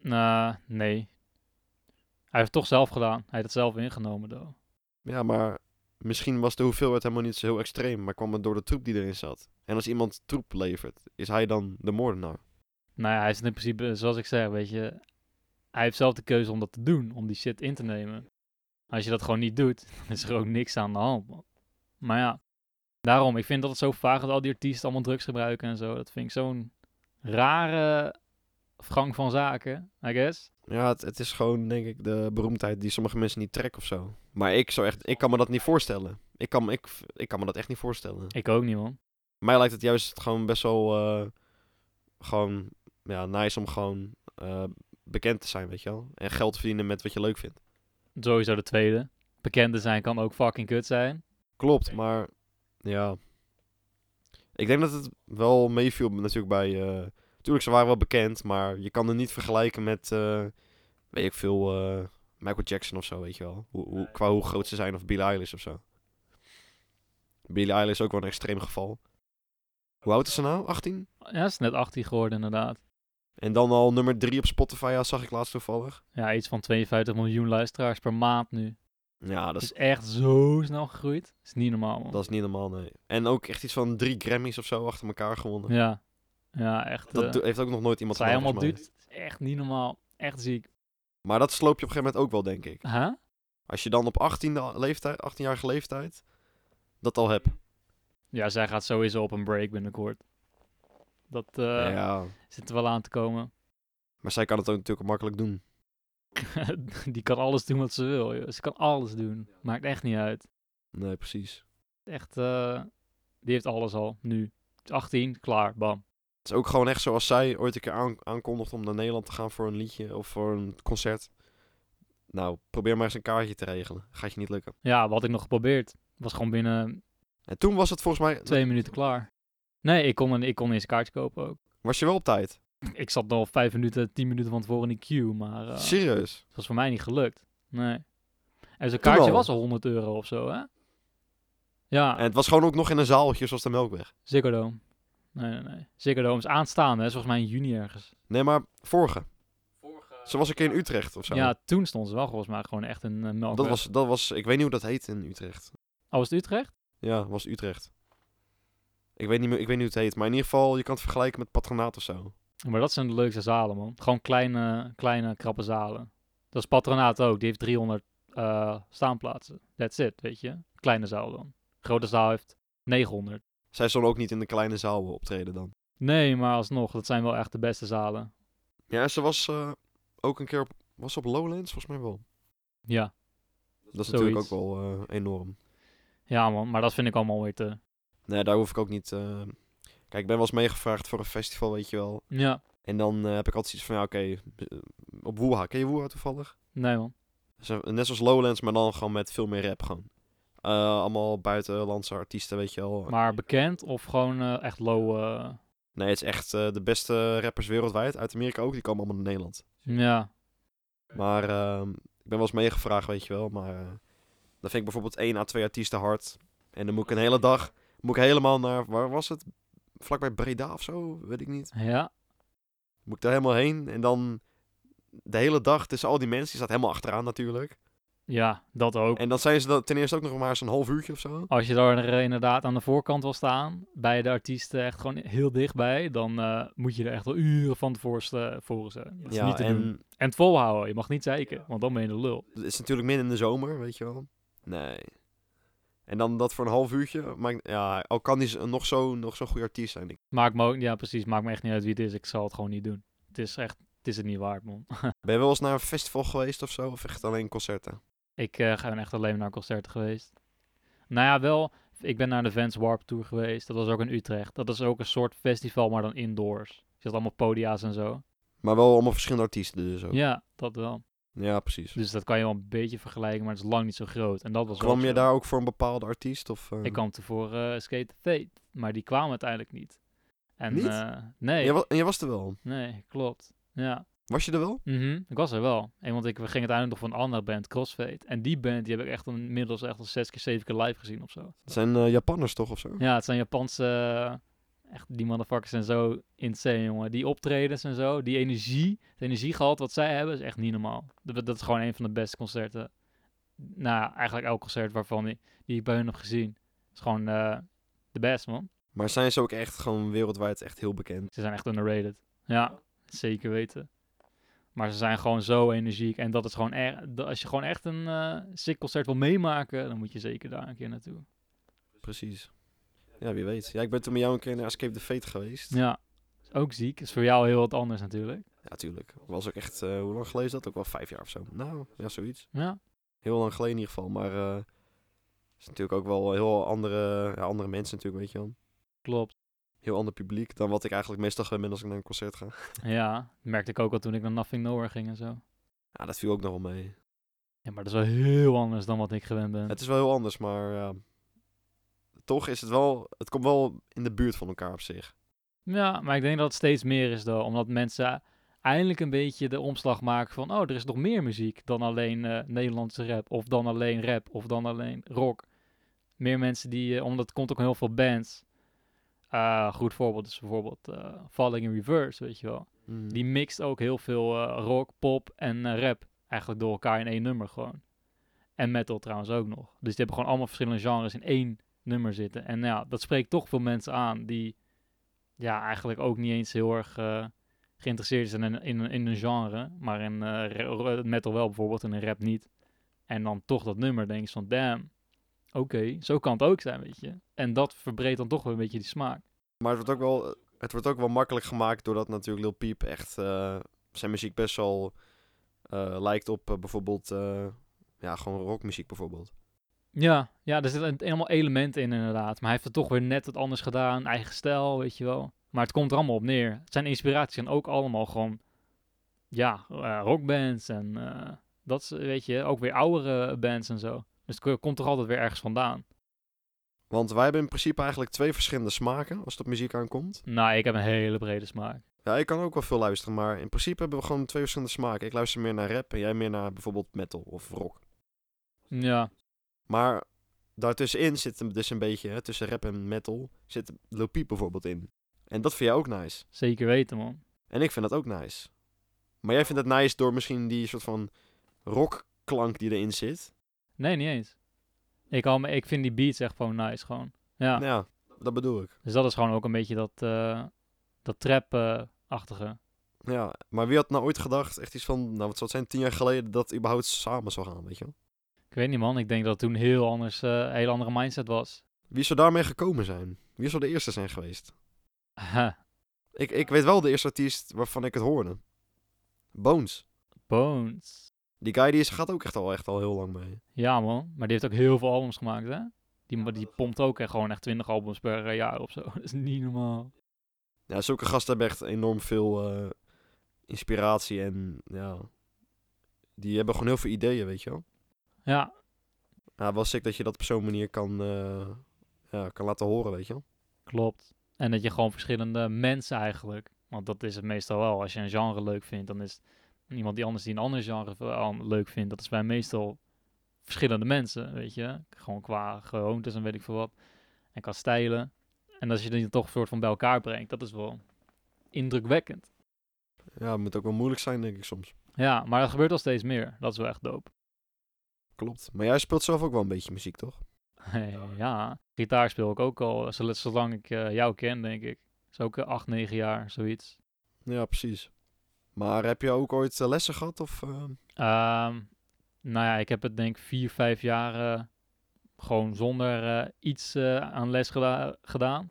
Speaker 2: Nou, nee. Hij heeft het toch zelf gedaan. Hij heeft het zelf ingenomen, though.
Speaker 1: Ja, maar misschien was de hoeveelheid helemaal niet zo heel extreem, maar kwam het door de troep die erin zat. En als iemand troep levert, is hij dan de moordenaar?
Speaker 2: Nou ja, hij is het in principe, zoals ik zeg, weet je... Hij heeft zelf de keuze om dat te doen, om die shit in te nemen. Als je dat gewoon niet doet, dan is er ook niks aan de hand, man. Maar ja, daarom, ik vind dat het zo vaag dat al die artiesten allemaal drugs gebruiken en zo. Dat vind ik zo'n rare gang van zaken, I guess.
Speaker 1: Ja, het, het is gewoon, denk ik, de beroemdheid die sommige mensen niet trekken of zo. Maar ik, zou echt, ik kan me dat niet voorstellen. Ik kan, ik, ik kan me dat echt niet voorstellen.
Speaker 2: Ik ook niet, man.
Speaker 1: Mij lijkt het juist gewoon best wel eh, gewoon, ja, nice om gewoon eh, bekend te zijn, weet je wel. En geld te verdienen met wat je leuk vindt.
Speaker 2: Sowieso de tweede. Bekende zijn kan ook fucking kut zijn.
Speaker 1: Klopt, maar ja. Ik denk dat het wel meeviel natuurlijk bij... eh tuurlijk, ze waren wel bekend, maar je kan het niet vergelijken met, eh, weet ik veel, eh, Michael Jackson of zo, weet je wel. Hoe, hoe, qua hoe groot ze zijn of Billie Eilish of zo. Billie Eilish is ook wel een extreem geval. Hoe oud is ze nou? 18?
Speaker 2: Ja, is net 18 geworden, inderdaad.
Speaker 1: En dan al nummer 3 op Spotify, ja, zag ik laatst toevallig.
Speaker 2: Ja, iets van 52 miljoen luisteraars per maand nu.
Speaker 1: Ja, dat
Speaker 2: Dat
Speaker 1: is,
Speaker 2: is echt zo snel gegroeid. Dat is niet normaal, man.
Speaker 1: Dus dat is niet normaal, nee. En ook echt iets van drie Grammys of zo achter elkaar gewonnen.
Speaker 2: Ja, ja echt. eh,
Speaker 1: Dat do- heeft ook nog nooit iemand
Speaker 2: wat hij
Speaker 1: gedaan,
Speaker 2: helemaal
Speaker 1: volgens mij.
Speaker 2: doet, is echt niet normaal. Echt ziek.
Speaker 1: Maar dat sloop je op een gegeven moment ook wel, denk ik.
Speaker 2: Huh?
Speaker 1: Als je dan op 18 leeftijd, 18-jarige leeftijd dat al hebt.
Speaker 2: Ja, zij gaat sowieso op een break binnenkort. Dat eh,
Speaker 1: ja.
Speaker 2: zit er wel aan te komen.
Speaker 1: Maar zij kan het ook natuurlijk makkelijk doen.
Speaker 2: Die kan alles doen wat ze wil. joh. Ze kan alles doen. Maakt echt niet uit.
Speaker 1: Nee, precies.
Speaker 2: Echt, eh, die heeft alles al nu. 18, klaar, bam.
Speaker 1: Het is ook gewoon echt zoals zij ooit een keer aan- aankondigt om naar Nederland te gaan voor een liedje of voor een concert. Nou, probeer maar eens een kaartje te regelen. Gaat je niet lukken.
Speaker 2: Ja, wat ik nog geprobeerd. Was gewoon binnen
Speaker 1: En toen was het volgens mij...
Speaker 2: twee minuten klaar. Nee, ik kon, een, ik kon eens een kaartje kopen ook.
Speaker 1: Was je wel op tijd?
Speaker 2: Ik zat nog vijf minuten, tien minuten van tevoren in die queue, maar... eh,
Speaker 1: Serieus?
Speaker 2: Dat was voor mij niet gelukt. Nee. En zo'n
Speaker 1: Toen
Speaker 2: kaartje
Speaker 1: al?
Speaker 2: was al 100 euro of zo, hè? Ja,
Speaker 1: En het was gewoon ook nog in een zaaltje zoals de Melkweg.
Speaker 2: Ziggo Dome. Nee, nee, nee. Ziggo Dome is aanstaande, hè? volgens mij in juni ergens.
Speaker 1: Nee, maar vorige. Ze was een keer in Utrecht of zo.
Speaker 2: Ja, toen stond ze wel volgens mij gewoon echt een eh, melkweg.
Speaker 1: dat was, dat was, ik weet niet hoe dat heet in Utrecht.
Speaker 2: Oh, was het Utrecht?
Speaker 1: Ja, was Utrecht. Ik weet, niet meer, ik weet niet hoe het heet, maar in ieder geval, je kan het vergelijken met patronaat of zo.
Speaker 2: Maar dat zijn de leukste zalen, man. Gewoon kleine, kleine krappe zalen. Dat is Patronaat ook. Die heeft 300 eh, staanplaatsen. That's it, weet je. Kleine zaal dan. Grote zaal heeft 900.
Speaker 1: Zij zullen ook niet in de kleine zaal optreden dan.
Speaker 2: Nee, maar alsnog, dat zijn wel echt de beste zalen.
Speaker 1: Ja, ze was eh, ook een keer op, was ze op Lowlands, volgens mij wel.
Speaker 2: Ja.
Speaker 1: Dat is
Speaker 2: Zoiets.
Speaker 1: natuurlijk ook wel eh, enorm.
Speaker 2: Ja, man. Maar dat vind ik allemaal weer te...
Speaker 1: Nee, daar hoef ik ook niet... eh, Kijk, ik ben wel eens meegevraagd voor een festival, weet je wel.
Speaker 2: Ja.
Speaker 1: En dan eh, heb ik altijd zoiets van, ja, oké, eh, op Woeha. Ken je Woeha toevallig?
Speaker 2: Nee, man.
Speaker 1: Ze- Net zoals Lowlands, maar dan gewoon met veel meer rap gewoon. Eh, allemaal buitenlandse artiesten, weet je wel.
Speaker 2: Maar bekend of gewoon eh, echt low... eh,
Speaker 1: Nee, het is echt eh, de beste rappers wereldwijd. Uit Amerika ook, die komen allemaal naar Nederland.
Speaker 2: eh, Ja.
Speaker 1: Maar ehm, ik ben wel eens meegevraagd, weet je wel. Maar eh, dan vind ik bijvoorbeeld één à twee artiesten hard. En dan moet ik een hele dag, moet ik helemaal naar, waar was het? Vlakbij Breda of zo, weet ik niet.
Speaker 2: Ja.
Speaker 1: Moet ik daar helemaal heen en dan de hele dag tussen al die mensen, die staat helemaal achteraan natuurlijk.
Speaker 2: Ja, dat ook.
Speaker 1: En dan zijn ze dan ten eerste ook nog maar eens een half uurtje of zo.
Speaker 2: Als je daar eh, inderdaad aan de voorkant wil staan, bij de artiesten echt gewoon heel dichtbij, dan eh, moet je er echt wel uren van tevoren voor zijn. Dat is niet te
Speaker 1: en
Speaker 2: doen. En het volhouden, je mag niet zeiken, want dan ben je de lul.
Speaker 1: het is natuurlijk midden in de zomer, weet je wel. Nee. En dan dat voor een half uurtje. Maar ja, al kan die z- nog zo'n nog zo goede artiest zijn. Ik-
Speaker 2: Maakt me ook, ja precies, maakt me echt niet uit wie het is, ik zal het gewoon niet doen. Het is echt, het is het niet waard man.
Speaker 1: Ben je wel eens naar een festival geweest of zo? Of echt alleen concerten?
Speaker 2: Ik eh ben echt alleen naar concerten geweest. Nou ja, wel, ik ben naar de Vans Warp Tour geweest, dat was ook in Utrecht. Dat is ook een soort festival, maar dan indoors. Je had allemaal podia's en zo.
Speaker 1: Maar wel allemaal verschillende artiesten dus ook.
Speaker 2: Ja, dat wel.
Speaker 1: Ja, precies.
Speaker 2: Dus dat kan je wel een beetje vergelijken, maar het is lang niet zo groot. En dat was ook
Speaker 1: Kwam je
Speaker 2: zo.
Speaker 1: daar ook voor een bepaalde artiest? Of, eh?
Speaker 2: Ik kwam tevoren eh Skate Fate, maar die kwamen uiteindelijk niet. En,
Speaker 1: Niet?
Speaker 2: eh, nee,
Speaker 1: je, wa- en je was er wel.
Speaker 2: nee, klopt. Ja,
Speaker 1: Was je er wel?
Speaker 2: Mhm, ik was er wel. En want ik ging uiteindelijk nog van een andere band, Crossfade. En die band die heb ik echt een- inmiddels echt al zes keer, zeven keer live gezien of zo.
Speaker 1: Het zijn eh, Japanners toch of zo?
Speaker 2: Ja, het zijn Japanse, eh, echt die motherfuckers zijn zo insane, jongen. Die optredens en zo, die energie, het energiegehalte wat zij hebben is echt niet normaal. Dat, dat is gewoon een van de beste concerten. Nou, eigenlijk elk concert waarvan die, die ik bij hun heb gezien. is gewoon eh, de best, man.
Speaker 1: Maar zijn ze ook echt gewoon wereldwijd echt heel bekend?
Speaker 2: Ze zijn echt underrated. Ja, zeker weten. Maar ze zijn gewoon zo energiek. En dat is gewoon echt. Als je gewoon echt een eh sick concert wil meemaken, dan moet je zeker daar een keer naartoe.
Speaker 1: Precies. Ja, wie weet. Ja, ik ben toen met jou een keer naar Escape the Fate geweest.
Speaker 2: Ja, is ook ziek. Is voor jou heel wat anders natuurlijk.
Speaker 1: Ja, tuurlijk. Was ook echt, eh, hoe lang geleden is dat? Ook wel vijf jaar of zo. Nou, ja, zoiets.
Speaker 2: Ja,
Speaker 1: Heel lang geleden in ieder geval. Maar eh, is natuurlijk ook wel heel andere, ja, andere mensen natuurlijk, weet je wel.
Speaker 2: klopt.
Speaker 1: Heel ander publiek dan wat ik eigenlijk meestal gewend ben als ik naar een concert ga.
Speaker 2: Ja, dat merkte ik ook al toen ik naar Nothing Nowhere ging en zo.
Speaker 1: Ja, dat viel ook nog wel mee.
Speaker 2: Ja, maar dat is wel heel anders dan wat ik gewend ben.
Speaker 1: Het is wel heel anders, maar ja, toch is het wel, het komt wel in de buurt van elkaar op zich.
Speaker 2: Ja, maar ik denk dat het steeds meer is dan. Omdat mensen eindelijk een beetje de omslag maken van... oh, er is nog meer muziek dan alleen eh, Nederlandse rap... of dan alleen rap, of dan alleen rock. Meer mensen die... eh, omdat er komt ook heel veel bands. Eh goed voorbeeld is bijvoorbeeld eh, Falling in Reverse, weet je wel.
Speaker 1: Hmm.
Speaker 2: Die mixt ook heel veel eh, rock, pop en eh, rap. Eigenlijk door elkaar in één nummer gewoon. En metal trouwens ook nog. Dus die hebben gewoon allemaal verschillende genres in één nummer zitten. En ja, dat spreekt toch veel mensen aan die ja, eigenlijk ook niet eens heel erg eh, geïnteresseerd zijn in, in, in een genre. Maar in eh, ra- ro- metal wel bijvoorbeeld en in rap niet. En dan toch dat nummer denk je van damn, oké, zo kan het ook zijn, weet je. En dat verbreedt dan toch wel een beetje die smaak.
Speaker 1: Maar het wordt ook wel, het wordt ook wel makkelijk gemaakt doordat natuurlijk Lil Peep echt eh, zijn muziek best wel eh, lijkt op eh, bijvoorbeeld, eh, ja, gewoon rockmuziek bijvoorbeeld.
Speaker 2: Ja, ja, er zitten helemaal elementen in inderdaad. Maar hij heeft het toch weer net wat anders gedaan. Eigen stijl, weet je wel. Maar het komt er allemaal op neer. Zijn inspiraties zijn ook allemaal gewoon... Ja, eh, rockbands en eh, dat is, weet je, ook weer oudere bands en zo. Dus het komt toch altijd weer ergens vandaan.
Speaker 1: Want wij hebben in principe eigenlijk twee verschillende smaken als het op muziek aankomt.
Speaker 2: Nou, ik heb een hele brede smaak.
Speaker 1: Ja, ik kan ook wel veel luisteren, maar in principe hebben we gewoon twee verschillende smaken. Ik luister meer naar rap en jij meer naar bijvoorbeeld metal of rock.
Speaker 2: Ja,
Speaker 1: Maar daartussenin zit hem dus een beetje, hè, tussen rap en metal, zit Lopiep bijvoorbeeld in. En dat vind jij ook nice.
Speaker 2: Zeker weten, man.
Speaker 1: En ik vind dat ook nice. Maar jij vindt het nice door misschien die soort van rockklank die erin zit.
Speaker 2: Nee, niet eens. Ik, hou me- ik vind die beats echt gewoon nice, gewoon. Ja.
Speaker 1: Nou ja, dat bedoel ik.
Speaker 2: Dus dat is gewoon ook een beetje dat, eh, dat eh, trap-achtige.
Speaker 1: Ja, maar wie had nou ooit gedacht, echt iets van, nou wat zou het zijn, tien jaar geleden, dat het überhaupt samen zou gaan, weet je wel?
Speaker 2: ik weet niet, man. Ik denk dat het toen heel anders, eh, een heel andere mindset was.
Speaker 1: Wie zou daarmee gekomen zijn? Wie zou de eerste zijn geweest?
Speaker 2: Haha,
Speaker 1: Ik, ik weet wel de eerste artiest waarvan ik het hoorde. Bones.
Speaker 2: Bones.
Speaker 1: Die guy die is, gaat ook echt al, echt al heel lang mee.
Speaker 2: Ja, man. Maar die heeft ook heel veel albums gemaakt, hè? Die, die pompt ook echt gewoon echt 20 albums per eh, jaar of zo. Dat is niet normaal.
Speaker 1: Ja, zulke gasten hebben echt enorm veel eh, inspiratie en ja, die hebben gewoon heel veel ideeën, weet je wel?
Speaker 2: Ja,
Speaker 1: Ja, wel sick dat je dat op zo'n manier kan, eh, ja, kan laten horen, weet je wel?
Speaker 2: klopt. En dat je gewoon verschillende mensen eigenlijk... Want dat is het meestal wel. Als je een genre leuk vindt, dan is iemand die anders die een ander genre v- an- leuk vindt. Dat is bij meestal verschillende mensen, weet je. Gewoon qua gewoontes en weet ik veel wat. En qua stijlen. En als je die toch soort van bij elkaar brengt, dat is wel indrukwekkend.
Speaker 1: Ja, het moet ook wel moeilijk zijn, denk ik soms.
Speaker 2: Ja, maar dat gebeurt al steeds meer. Dat is wel echt dope.
Speaker 1: Klopt. Maar jij speelt zelf ook wel een beetje muziek, toch?
Speaker 2: ja, gitaar speel ik ook al zol- zolang ik eh, jou ken, denk ik. Dat is ook eh, acht, negen jaar, zoiets.
Speaker 1: Ja, precies. Maar heb je ook ooit eh, lessen gehad? Of, eh,
Speaker 2: Ehm, nou ja, ik heb het denk ik vier, vijf jaar eh, gewoon zonder eh, iets eh, aan les geda- gedaan.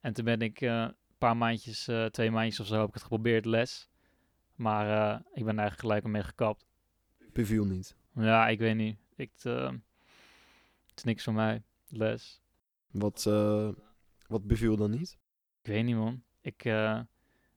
Speaker 2: En toen ben ik eh, een paar maandjes, eh, twee maandjes of zo, heb ik het geprobeerd les. Maar eh, ik ben eigenlijk gelijk ermee gekapt.
Speaker 1: beviel niet.
Speaker 2: Ja, ik weet niet. Ik, eh, het is niks voor mij, les.
Speaker 1: Wat, eh, wat beviel dan niet?
Speaker 2: Ik weet niet, man. Ik eh,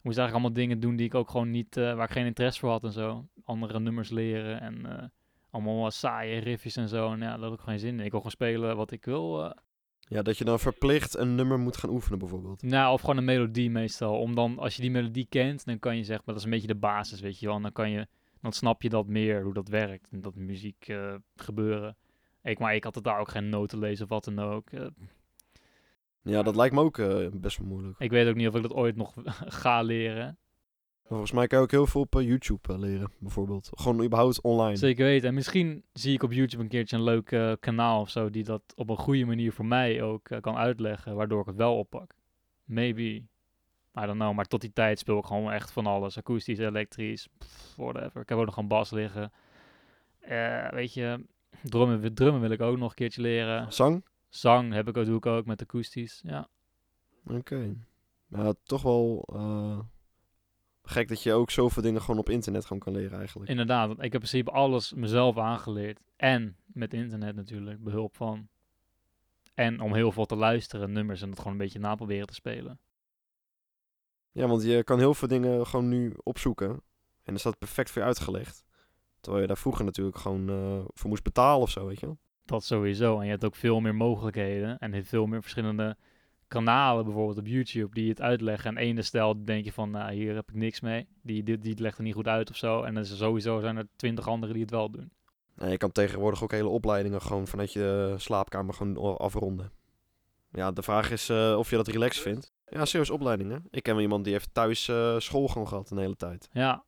Speaker 2: moest eigenlijk allemaal dingen doen die ik ook gewoon niet, eh, waar ik geen interesse voor had en zo. Andere nummers leren en eh, allemaal wat saaie riffjes en zo. En ja, dat had ik geen zin in. Ik wil gewoon spelen wat ik wil. eh.
Speaker 1: Ja, dat je dan verplicht een nummer moet gaan oefenen, bijvoorbeeld.
Speaker 2: Nou, of gewoon een melodie meestal. Om dan, als je die melodie kent, dan kan je zeg maar, dat is een beetje de basis, weet je wel. En dan kan je, dan snap je dat meer, hoe dat werkt. En dat muziek eh, gebeuren. Ik, maar ik had het daar ook geen noten lezen of wat dan ook. Eh,
Speaker 1: Ja, dat lijkt me ook eh, best wel moeilijk.
Speaker 2: ik weet ook niet of ik dat ooit nog ga leren.
Speaker 1: Volgens mij kan je ook heel veel op eh, YouTube eh, leren, bijvoorbeeld. Gewoon überhaupt online.
Speaker 2: Zeker weten. En misschien zie ik op YouTube een keertje een leuk eh, kanaal of zo die dat op een goede manier voor mij ook eh, kan uitleggen, waardoor ik het wel oppak. Maybe. I don't know, maar tot die tijd speel ik gewoon echt van alles. Akoestisch, elektrisch, pff, whatever. Ik heb ook nog een bas liggen. Eh, weet je, drummen, drummen wil ik ook nog een keertje leren.
Speaker 1: Zang?
Speaker 2: Zang heb ik, ook- doe ik ook met akoestisch, ja.
Speaker 1: Oké. Ja, toch wel eh, gek dat je ook zoveel dingen gewoon op internet gewoon kan leren, eigenlijk.
Speaker 2: Inderdaad, want ik heb in principe alles mezelf aangeleerd. En met internet natuurlijk, behulp van. En om heel veel te luisteren, nummers en dat gewoon een beetje na proberen te spelen.
Speaker 1: Ja, want je kan heel veel dingen gewoon nu opzoeken. En dan staat perfect voor je uitgelegd. Terwijl je daar vroeger natuurlijk gewoon eh, voor moest betalen of zo, weet je wel.
Speaker 2: Dat sowieso. En je hebt ook veel meer mogelijkheden en veel meer verschillende kanalen, bijvoorbeeld op YouTube, die het uitleggen. En ene stijl denk je van, nou, hier heb ik niks mee. Die, die, die legt er niet goed uit of zo. En dan is er sowieso zijn er twintig anderen die het wel doen.
Speaker 1: En je kan tegenwoordig ook hele opleidingen gewoon vanuit je slaapkamer gewoon afronden. Ja, de vraag is eh, of je dat relaxed vindt. Ja, serieus opleidingen. Ik ken wel iemand die heeft thuis eh, school gewoon gehad een hele tijd.
Speaker 2: Ja,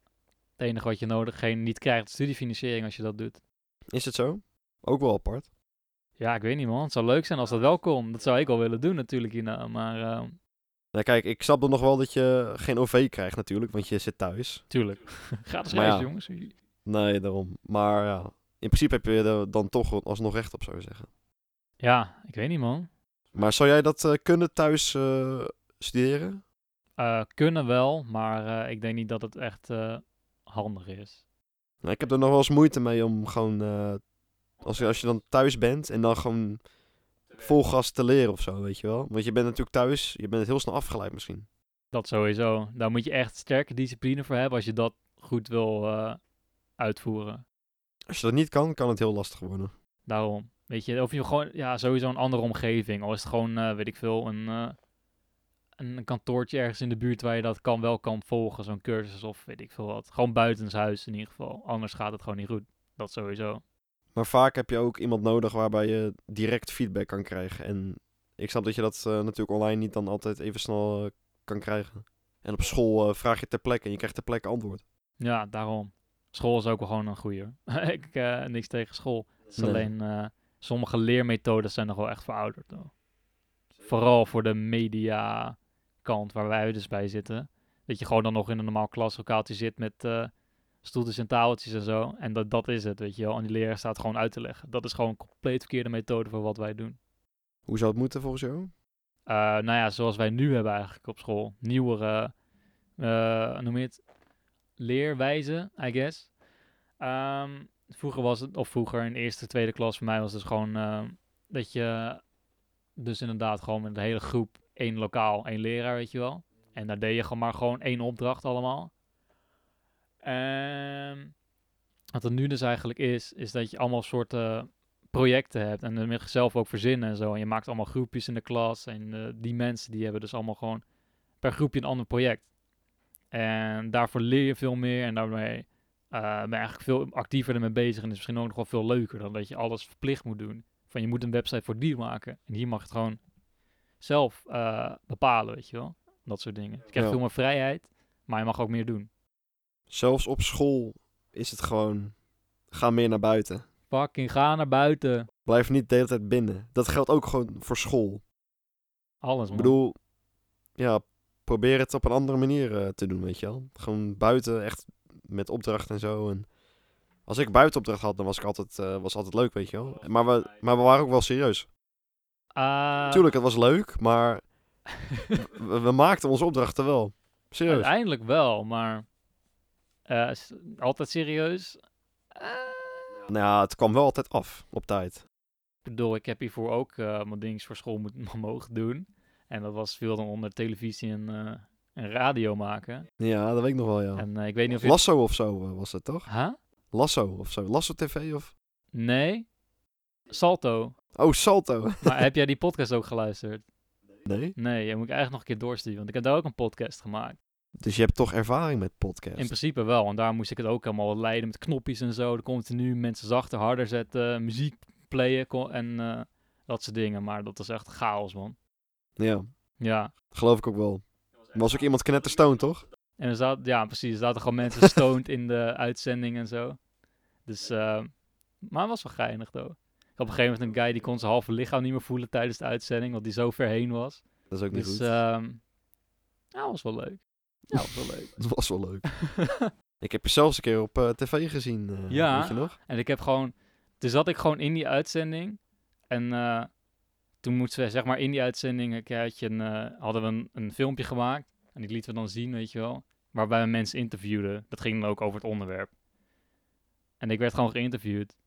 Speaker 2: het enige wat je nodig geen, niet krijgt, is studiefinanciering als je dat doet.
Speaker 1: Is het zo? Ook wel apart.
Speaker 2: Ja, ik weet niet man. Het zou leuk zijn als dat wel kon. Dat zou ik wel willen doen natuurlijk hierna. Maar eh,
Speaker 1: Nou kijk, ik snap dan nog wel dat je geen OV krijgt natuurlijk, want je zit thuis.
Speaker 2: tuurlijk. Gratis
Speaker 1: Maar
Speaker 2: reis
Speaker 1: ja.
Speaker 2: jongens.
Speaker 1: Nee, daarom. Maar ja, in principe heb je er dan toch alsnog recht op, zou je zeggen.
Speaker 2: Ja, ik weet niet man.
Speaker 1: Maar zou jij dat eh, kunnen thuis eh, studeren?
Speaker 2: Eh, kunnen wel, maar eh, ik denk niet dat het echt eh, handig is.
Speaker 1: Nou, ik heb er nog wel eens moeite mee om gewoon, eh, als, je- als je dan thuis bent en dan gewoon vol gas te leren of zo, weet je wel. Want je bent natuurlijk thuis, je bent heel snel afgeleid misschien.
Speaker 2: Dat sowieso. Daar moet je echt sterke discipline voor hebben als je dat goed wil eh, uitvoeren.
Speaker 1: Als je dat niet kan, kan het heel lastig worden.
Speaker 2: Daarom. Weet je, of je gewoon, ja, sowieso een andere omgeving. Al is het gewoon, eh, weet ik veel, een, eh, een kantoortje ergens in de buurt waar je dat kan, wel kan volgen. Zo'n cursus of weet ik veel wat. Gewoon buitenshuis in ieder geval. Anders gaat het gewoon niet goed. Dat sowieso.
Speaker 1: Maar vaak heb je ook iemand nodig waarbij je direct feedback kan krijgen. En ik snap dat je dat eh, natuurlijk online niet dan altijd even snel eh, kan krijgen. En op school eh, vraag je ter plekke en je krijgt ter plekke antwoord.
Speaker 2: Ja, daarom. School is ook wel gewoon een goeie. hoor. ik eh, niks tegen school. Het is
Speaker 1: Nee.
Speaker 2: alleen eh, sommige leermethodes zijn nog wel echt verouderd. hoor. Vooral voor de media kant waar wij dus bij zitten. Dat je gewoon dan nog in een normaal klaslokaaltje zit met eh, stoeltjes en tafeltjes en zo. En dat, dat is het, weet je wel. En die leraar staat gewoon uit te leggen. Dat is gewoon een compleet verkeerde methode voor wat wij doen.
Speaker 1: Hoe zou het moeten volgens jou?
Speaker 2: Eh, nou ja, zoals wij nu hebben eigenlijk op school. Nieuwere, eh noem je het, leerwijze, I guess. Ehm, vroeger was het, of vroeger in eerste, tweede klas voor mij was het dus gewoon ehm, dat je dus inderdaad gewoon met de hele groep één lokaal, één leraar, weet je wel. En daar deed je gewoon maar gewoon één opdracht allemaal. Ehm, wat er nu dus eigenlijk is, is dat je allemaal soorten projecten hebt en dan mag je zelf ook verzinnen en zo. En je maakt allemaal groepjes in de klas en eh, die mensen die hebben dus allemaal gewoon per groepje een ander project. En daarvoor leer je veel meer en daarmee eh, ben je eigenlijk veel actiever ermee bezig en is misschien ook nog wel veel leuker dan dat je alles verplicht moet doen. Van je moet een website voor die maken en hier mag je het gewoon zelf eh, bepalen, weet je wel. Dat soort dingen. Dus je krijgt
Speaker 1: Ja.
Speaker 2: veel meer vrijheid, maar je mag ook meer doen.
Speaker 1: Zelfs op school is het gewoon, ga meer naar buiten.
Speaker 2: Fucking ga naar buiten.
Speaker 1: Blijf niet de hele tijd binnen. Dat geldt ook gewoon voor school.
Speaker 2: Alles,
Speaker 1: Ik
Speaker 2: man.
Speaker 1: bedoel, ja, probeer het op een andere manier eh, te doen, weet je wel. Gewoon buiten, echt met opdracht en zo. En als ik buitenopdracht had, dan was ik altijd, eh, was altijd leuk, weet je wel. Maar we, maar we waren ook wel serieus.
Speaker 2: Ah,
Speaker 1: Tuurlijk, het was leuk, maar we, we maakten onze opdrachten wel. Serieus.
Speaker 2: Uiteindelijk wel, maar eh, s- altijd serieus. Eh,
Speaker 1: Nou ja, het kwam wel altijd af op tijd.
Speaker 2: ik bedoel, ik heb hiervoor ook eh, mijn dings voor school moet, mogen doen. En dat was veel dan onder televisie en, eh, en radio maken.
Speaker 1: Ja, dat weet ik nog wel, ja.
Speaker 2: En eh, ik weet niet of je...
Speaker 1: Lasso of zo eh, was het, toch?
Speaker 2: Huh?
Speaker 1: Lasso of zo. Lasso TV of...
Speaker 2: Nee? Salto.
Speaker 1: Oh, Salto.
Speaker 2: Maar heb jij die podcast ook geluisterd?
Speaker 1: Nee?
Speaker 2: Nee, je moet ik eigenlijk nog een keer doorsturen, want ik heb daar ook een podcast gemaakt.
Speaker 1: Dus je hebt toch ervaring met podcast?
Speaker 2: In principe wel, en daar moest ik het ook allemaal leiden met knopjes en zo. De continu mensen zachter, harder zetten, muziek playen ko- en eh, dat soort dingen. Maar dat was echt chaos, man.
Speaker 1: Ja,
Speaker 2: Ja,
Speaker 1: geloof ik ook wel. Er was ook iemand knetterstone, toch?
Speaker 2: en er zaten, ja, precies, er zaten gewoon mensen stoned in de uitzending en zo. Dus, eh, maar het was wel geinig, though. Ik had op een gegeven moment een guy die kon zijn halve lichaam niet meer voelen tijdens de uitzending, want die zo ver heen was.
Speaker 1: Dat is ook niet
Speaker 2: Dus,
Speaker 1: goed.
Speaker 2: ehm ja, was wel leuk. Ja, was wel leuk.
Speaker 1: Dat was wel leuk. Ik heb je zelfs een keer op eh, tv gezien. eh,
Speaker 2: Ja.
Speaker 1: Weet je nog?
Speaker 2: En ik heb gewoon... Toen zat ik gewoon in die uitzending. En eh, toen moesten we, zeg maar, in die uitzending... Een keertje een, eh, hadden we een, een filmpje gemaakt. En die lieten we dan zien, weet je wel. Waarbij we mensen interviewden. Dat ging dan ook over het onderwerp. En ik werd gewoon geïnterviewd.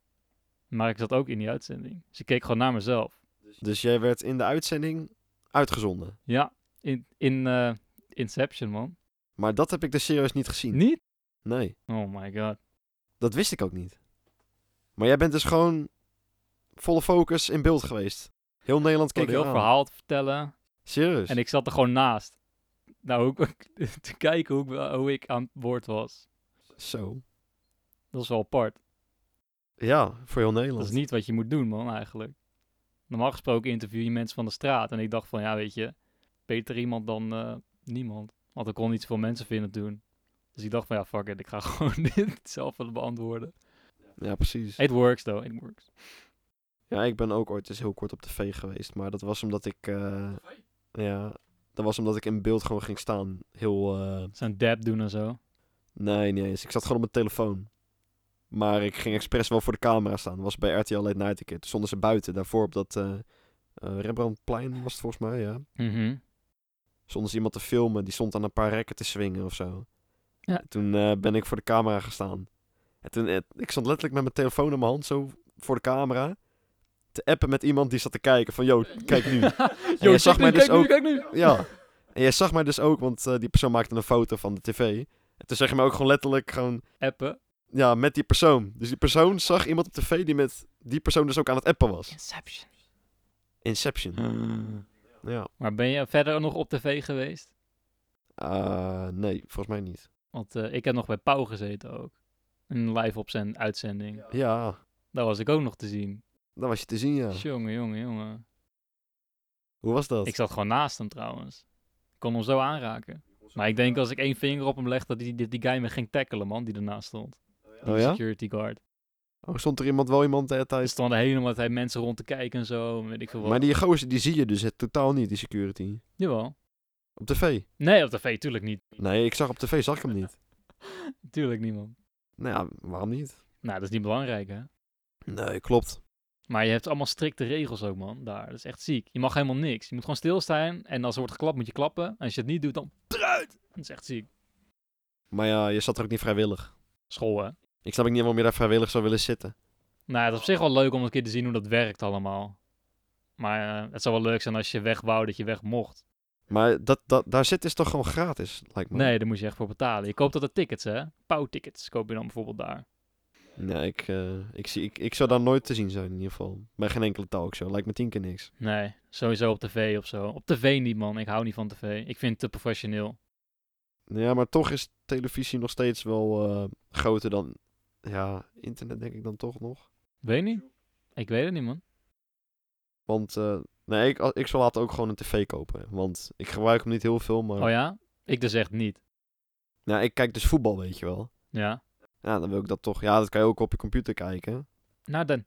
Speaker 2: Maar ik zat ook in die uitzending. Dus ik keek gewoon naar mezelf.
Speaker 1: Dus jij werd in de uitzending uitgezonden.
Speaker 2: Ja, in, in eh, Inception, man.
Speaker 1: Maar dat heb ik dus serieus niet gezien.
Speaker 2: Niet?
Speaker 1: Nee,
Speaker 2: Oh my god.
Speaker 1: dat wist ik ook niet. Maar jij bent dus gewoon volle focus in beeld geweest. Heel Nederland
Speaker 2: Ik had
Speaker 1: keek
Speaker 2: een
Speaker 1: je
Speaker 2: heel
Speaker 1: aan.
Speaker 2: verhaal te vertellen.
Speaker 1: Serieus?
Speaker 2: En ik zat er gewoon naast. Nou, hoe ik- te kijken hoe ik, hoe ik aan het woord was.
Speaker 1: Zo.
Speaker 2: Dat is wel apart.
Speaker 1: Ja, voor heel
Speaker 2: Dat
Speaker 1: Nederland.
Speaker 2: is niet wat je moet doen, man, eigenlijk. Normaal gesproken interview je mensen van de straat. En ik dacht van, ja, weet je, beter iemand dan eh, niemand. Want ik kon niet zoveel mensen vinden toen. Dus ik dacht van, ja, fuck it, ik ga gewoon dit zelf wel beantwoorden.
Speaker 1: Ja, precies.
Speaker 2: It works, though, it works.
Speaker 1: Ja, ik ben ook ooit eens heel kort op tv geweest. Maar dat was omdat ik... eh, ja, dat was omdat ik in beeld gewoon ging staan. Heel... eh,
Speaker 2: Zo'n dab doen en zo.
Speaker 1: Nee, niet eens. Ik zat gewoon op mijn telefoon. Maar ik ging expres wel voor de camera staan. Dat was bij RTL Late Night een keer. Toen stonden ze buiten. Daarvoor op dat eh, eh, Rembrandtplein was het volgens mij, ja.
Speaker 2: Mhm.
Speaker 1: Stonden ze iemand te filmen. Die stond aan een paar rekken te swingen of zo.
Speaker 2: Ja.
Speaker 1: En Toen eh, ben ik voor de camera gestaan. En toen, eh, ik stond letterlijk met mijn telefoon in mijn hand zo voor de camera. Te appen met iemand die zat te kijken van, yo, kijk nu.
Speaker 2: Yo,
Speaker 1: jij
Speaker 2: zag mij dus ook...
Speaker 1: Ja. En jij zag mij dus ook, want eh, die persoon maakte een foto van de tv. En toen zag je me ook gewoon letterlijk gewoon
Speaker 2: Appen.
Speaker 1: ja, met die persoon. Dus die persoon zag iemand op tv die met die persoon dus ook aan het appen was.
Speaker 2: Inception.
Speaker 1: Inception.
Speaker 2: Ah.
Speaker 1: Ja.
Speaker 2: Maar ben je verder nog op tv geweest?
Speaker 1: Eh, nee, volgens mij niet.
Speaker 2: Want eh, ik heb nog bij Pauw gezeten ook. Een live op zijn uitzending.
Speaker 1: Ja.
Speaker 2: Daar was ik ook nog te zien.
Speaker 1: Dan was je te zien, ja.
Speaker 2: Jongen, jongen, jongen.
Speaker 1: Hoe was dat?
Speaker 2: Ik zat gewoon naast hem trouwens. Ik kon hem zo aanraken. Maar ik denk als ik één vinger op hem leg, dat die, die, die guy me ging tackelen, man, die ernaast stond. Die
Speaker 1: Oh ja?
Speaker 2: security guard.
Speaker 1: Oh, stond er iemand wel iemand eh,
Speaker 2: Er
Speaker 1: thuis?
Speaker 2: stonden helemaal tijd mensen rond te kijken en zo, en weet ik veel wat.
Speaker 1: Maar die gozer, die zie je dus het, totaal niet, die security.
Speaker 2: Jawel.
Speaker 1: Op tv?
Speaker 2: Nee, op tv, tuurlijk niet.
Speaker 1: Nee, ik zag op tv, zag ik hem niet.
Speaker 2: Tuurlijk niet, man.
Speaker 1: Nou ja, waarom niet?
Speaker 2: Nou, dat is niet belangrijk, hè.
Speaker 1: Nee, klopt.
Speaker 2: Maar je hebt allemaal strikte regels ook, man. Daar, dat is echt ziek. Je mag helemaal niks. Je moet gewoon stilstaan. En als er wordt geklapt, moet je klappen. En als je het niet doet, dan eruit. Dat is echt ziek.
Speaker 1: Maar ja, je zat er ook niet vrijwillig.
Speaker 2: School, hè.
Speaker 1: Ik snap ook niet waarom je daar vrijwillig zou willen zitten.
Speaker 2: Nou, het is op zich wel leuk om een keer te zien hoe dat werkt allemaal. Maar eh, het zou wel leuk zijn als je weg wou dat je weg mocht.
Speaker 1: Maar dat, dat, daar zitten is toch gewoon gratis, lijkt me.
Speaker 2: Nee, daar moest je echt voor betalen. Je koopt altijd tickets, hè. Pauwtickets koop je dan bijvoorbeeld daar.
Speaker 1: Nee, ik, eh, ik, zie, ik, ik zou daar nooit te zien zijn in ieder geval. Bij geen enkele taal ook zo. Lijkt me tien keer niks.
Speaker 2: Nee, sowieso op tv of zo. Op tv niet, man. Ik hou niet van tv. Ik vind het te professioneel.
Speaker 1: Nou Ja, maar toch is televisie nog steeds wel eh, groter dan... Ja, internet denk ik dan toch nog.
Speaker 2: Weet niet? Ik weet het niet, man.
Speaker 1: Want eh, nee, ik, ik zal later ook gewoon een tv kopen. Want ik gebruik hem niet heel veel, maar...
Speaker 2: Oh ja? Ik dus echt niet.
Speaker 1: Nou, ik kijk dus voetbal, weet je wel.
Speaker 2: Ja.
Speaker 1: Ja, dan wil ik dat toch... Ja, dat kan je ook op je computer kijken.
Speaker 2: Nou, dan.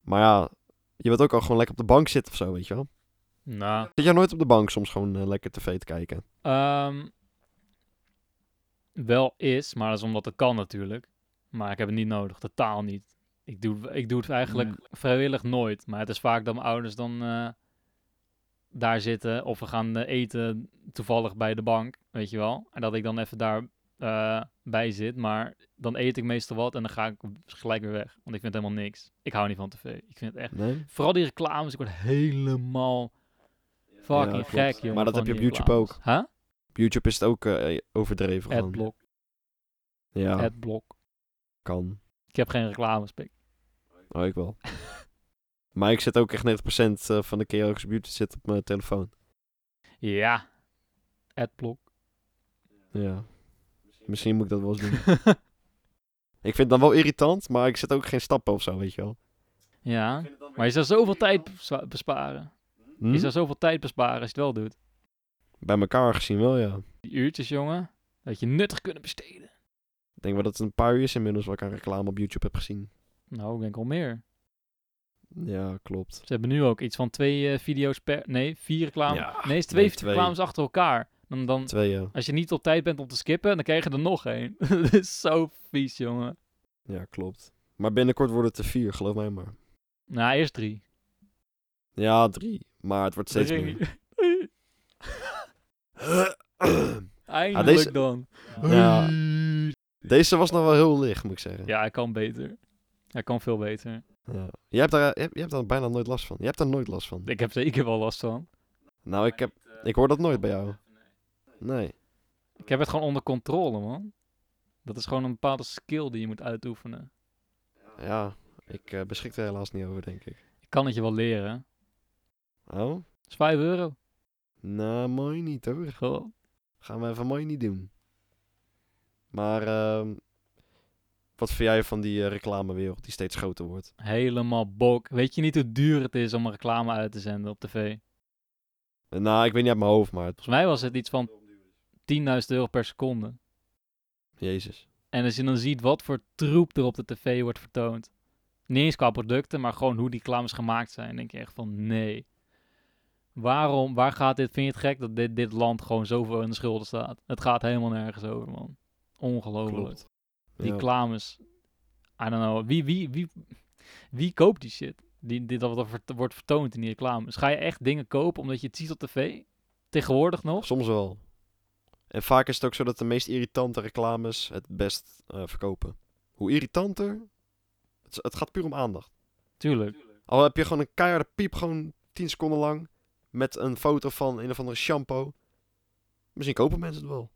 Speaker 1: Maar ja, je wilt ook al gewoon lekker op de bank zitten of zo, weet je wel.
Speaker 2: Nou.
Speaker 1: Zit jij nooit op de bank soms gewoon eh, lekker tv te kijken?
Speaker 2: Ehm, wel is, maar dat is omdat het kan natuurlijk. Maar ik heb het niet nodig, totaal niet. Ik doe, ik doe het eigenlijk vrijwillig nooit. Maar het is vaak dat mijn ouders dan eh, daar zitten of we gaan eh, eten toevallig bij de bank, weet je wel. En dat ik dan even daar eh, bij zit. Maar dan eet ik meestal wat en dan ga ik gelijk weer weg. Want ik vind het helemaal niks. Ik hou niet van tv. Ik vind het echt...
Speaker 1: Nee?
Speaker 2: Vooral die reclames, ik word helemaal
Speaker 1: Ja,
Speaker 2: fucking
Speaker 1: klopt.
Speaker 2: gek, jongen.
Speaker 1: Maar dat
Speaker 2: van
Speaker 1: heb je
Speaker 2: die
Speaker 1: op YouTube
Speaker 2: reclames. Huh?
Speaker 1: Op YouTube is het ook eh, overdreven gewoon.
Speaker 2: Adblock,
Speaker 1: Ja,
Speaker 2: adblock.
Speaker 1: kan.
Speaker 2: Ik heb geen reclames, pik.
Speaker 1: Oh, ik wel. maar ik zit ook echt 90% eh, van de keer als ik op YouTube zit op mijn telefoon.
Speaker 2: Ja, adblock.
Speaker 1: Ja. Misschien moet ik dat wel eens doen. ik vind het dan wel irritant, maar ik zet ook geen stappen of zo, weet je wel.
Speaker 2: ja, maar je zou zoveel tijd bespa- besparen.
Speaker 1: Hm?
Speaker 2: Je zou zoveel tijd besparen als je het wel doet.
Speaker 1: Bij elkaar gezien wel, ja.
Speaker 2: Die uurtjes, jongen, dat je nuttig kunnen besteden.
Speaker 1: Ik denk wel dat het een paar uur is inmiddels wat ik aan reclame op YouTube heb gezien.
Speaker 2: Nou, ik denk al meer.
Speaker 1: Ja, klopt.
Speaker 2: Ze hebben nu ook iets van twee eh, video's per... Nee, vier reclames.
Speaker 1: Ja,
Speaker 2: nee, het is twee,
Speaker 1: nee, twee.
Speaker 2: reclames achter elkaar. Dan, dan,
Speaker 1: Twee, ja.
Speaker 2: als je niet op tijd bent om te skippen, dan krijg je er nog één. dat is zo vies, jongen.
Speaker 1: Ja, klopt. Maar binnenkort wordt het er vier, geloof mij maar.
Speaker 2: Nou, eerst drie.
Speaker 1: Ja, drie. Maar het wordt steeds meer.
Speaker 2: Eindelijk
Speaker 1: deze-
Speaker 2: dan.
Speaker 1: Ja. Deze was nog wel heel licht, moet ik zeggen.
Speaker 2: Ja, hij kan beter. Hij kan veel beter.
Speaker 1: Ja. Je, hebt daar, je, hebt, je hebt daar bijna nooit last van. Je hebt daar nooit last van.
Speaker 2: Ik heb zeker wel last van.
Speaker 1: nou, ik, heb, ik hoor dat nooit bij jou. Nee.
Speaker 2: Ik heb het gewoon onder controle, man. Dat is gewoon een bepaalde skill die je moet uitoefenen.
Speaker 1: Ja, ik eh, beschik er helaas niet over, denk ik.
Speaker 2: Ik kan het je wel leren. Dat
Speaker 1: Oh?
Speaker 2: is 5 euro.
Speaker 1: Nou, mooi niet hoor.
Speaker 2: Goh.
Speaker 1: Gaan we even mooi niet doen. Maar, ehm, wat vind jij van die eh, reclamewereld die steeds groter wordt?
Speaker 2: Helemaal bok. Weet je niet hoe duur het is om een reclame uit te zenden op tv?
Speaker 1: Eh, Nou, ik weet niet uit mijn hoofd, maar... het-
Speaker 2: Volgens mij was het iets van 10.000 euro per seconde.
Speaker 1: Jezus.
Speaker 2: En als je dan ziet wat voor troep er op de tv wordt vertoond. Niet eens qua producten, maar gewoon hoe die reclames gemaakt zijn. denk je echt van nee. Waarom, waar gaat dit, vind je het gek dat dit, dit land gewoon zoveel in de schulden staat? Het gaat helemaal nergens over, man. Ongelooflijk.
Speaker 1: Klopt.
Speaker 2: Oh, Die
Speaker 1: Ja.
Speaker 2: reclames. I don't know. Wie, wie, wie, wie koopt die shit? Die, dit dat wat er vert- wordt vertoond in die reclames. Ga je echt dingen kopen omdat je het ziet op tv? Tegenwoordig nog?
Speaker 1: Soms wel. En vaak is het ook zo dat de meest irritante reclames het best eh, verkopen. Hoe irritanter, het, is- het gaat puur om aandacht.
Speaker 2: Tuurlijk.
Speaker 1: Al heb je gewoon een keiharde piep, gewoon 10 seconden lang, met een foto van een of andere shampoo. Misschien kopen mensen het wel.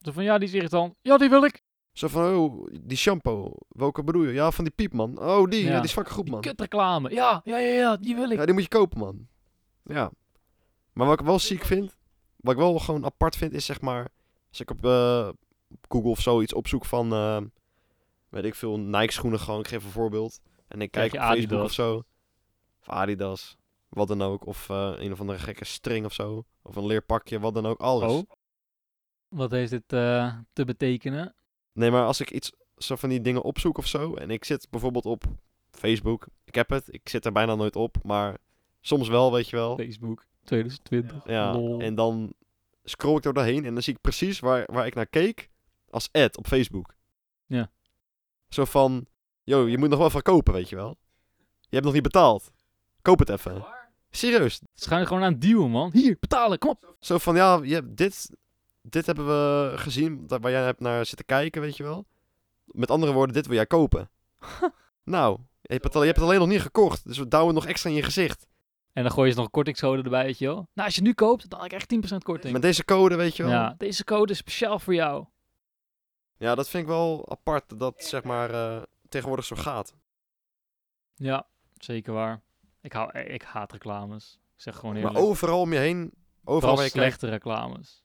Speaker 2: Zo van ja, die is irritant. Ja, die wil ik.
Speaker 1: Zo van, oh, die shampoo, welke bedoel je? Ja, van die piep, man. Oh, die,
Speaker 2: Ja.
Speaker 1: ja, die is fucking goed,
Speaker 2: Die
Speaker 1: man.
Speaker 2: kut reclame. Ja, ja, ja, ja, die wil ik.
Speaker 1: Ja, die moet je kopen, man. Ja. Maar wat ik wel ziek vind, wat ik wel gewoon apart vind, is zeg maar... Als ik op eh, op Google of zoiets opzoek van, eh, weet ik veel, Nike-schoenen gewoon, ik geef een voorbeeld. En ik
Speaker 2: Krijg
Speaker 1: kijk
Speaker 2: je
Speaker 1: op Facebook
Speaker 2: Adidas.
Speaker 1: of zo. Of Adidas. Wat dan ook. Of eh, een of andere gekke string of zo. Of een leerpakje. Wat dan ook. Alles.
Speaker 2: Oh. Wat heeft dit eh, te betekenen?
Speaker 1: Nee, maar als ik iets zo van die dingen opzoek of zo. En ik zit bijvoorbeeld op Facebook. Ik heb het. Ik zit er bijna nooit op. Maar soms wel, weet je wel.
Speaker 2: Facebook 2020.
Speaker 1: Ja.
Speaker 2: Lol.
Speaker 1: En dan scroll ik er doorheen. En dan zie ik precies waar, waar ik naar keek. Als ad op Facebook.
Speaker 2: Ja.
Speaker 1: Zo van. Yo, je moet nog wel van kopen, weet je wel. Je hebt nog niet betaald. Koop het even. Serieus,
Speaker 2: Ze gaan het gewoon aan het duwen, man. Hier, betalen, kom op.
Speaker 1: Zo van, ja, je hebt dit, dit hebben we gezien, da- waar jij hebt naar zitten kijken, weet je wel. Met andere woorden, dit wil jij kopen. nou, je hebt, het al- je hebt het alleen nog niet gekocht, dus we douwen nog extra in je gezicht.
Speaker 2: En dan gooien ze nog een kortingscode erbij, weet je wel. Nou, als je nu koopt, dan krijg je 10% korting.
Speaker 1: Met deze code, weet je wel.
Speaker 2: Ja, deze code is speciaal voor jou.
Speaker 1: Ja, dat vind ik wel apart, dat dat zeg maar eh, tegenwoordig zo gaat.
Speaker 2: Ja, zeker waar. Ik, hou, eh, ik haat reclames. Ik zeg gewoon heel
Speaker 1: maar overal om je heen, overal waar je kijkt.
Speaker 2: slechte reclames.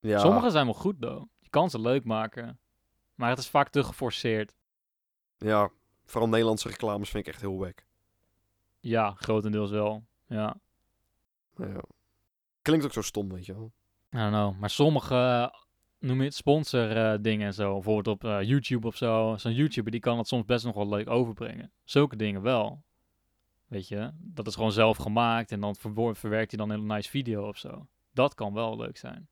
Speaker 1: Ja,
Speaker 2: Sommige zijn wel goed, though. Je kan ze leuk maken. Maar het is vaak te geforceerd.
Speaker 1: ja, vooral Nederlandse reclames vind ik echt heel wack.
Speaker 2: Ja, grotendeels wel. Ja,
Speaker 1: Ja. Klinkt ook zo stom, weet je wel.
Speaker 2: I don't know. Maar sommige, eh, noem je het, sponsor eh, dingen en zo. Bijvoorbeeld op eh, YouTube of zo. Zo'n YouTuber die kan dat soms best nog wel leuk overbrengen. Zulke dingen wel. Weet je, dat is gewoon zelf gemaakt en dan verwo- verwerkt hij dan in een nice video of zo. Dat kan wel leuk zijn.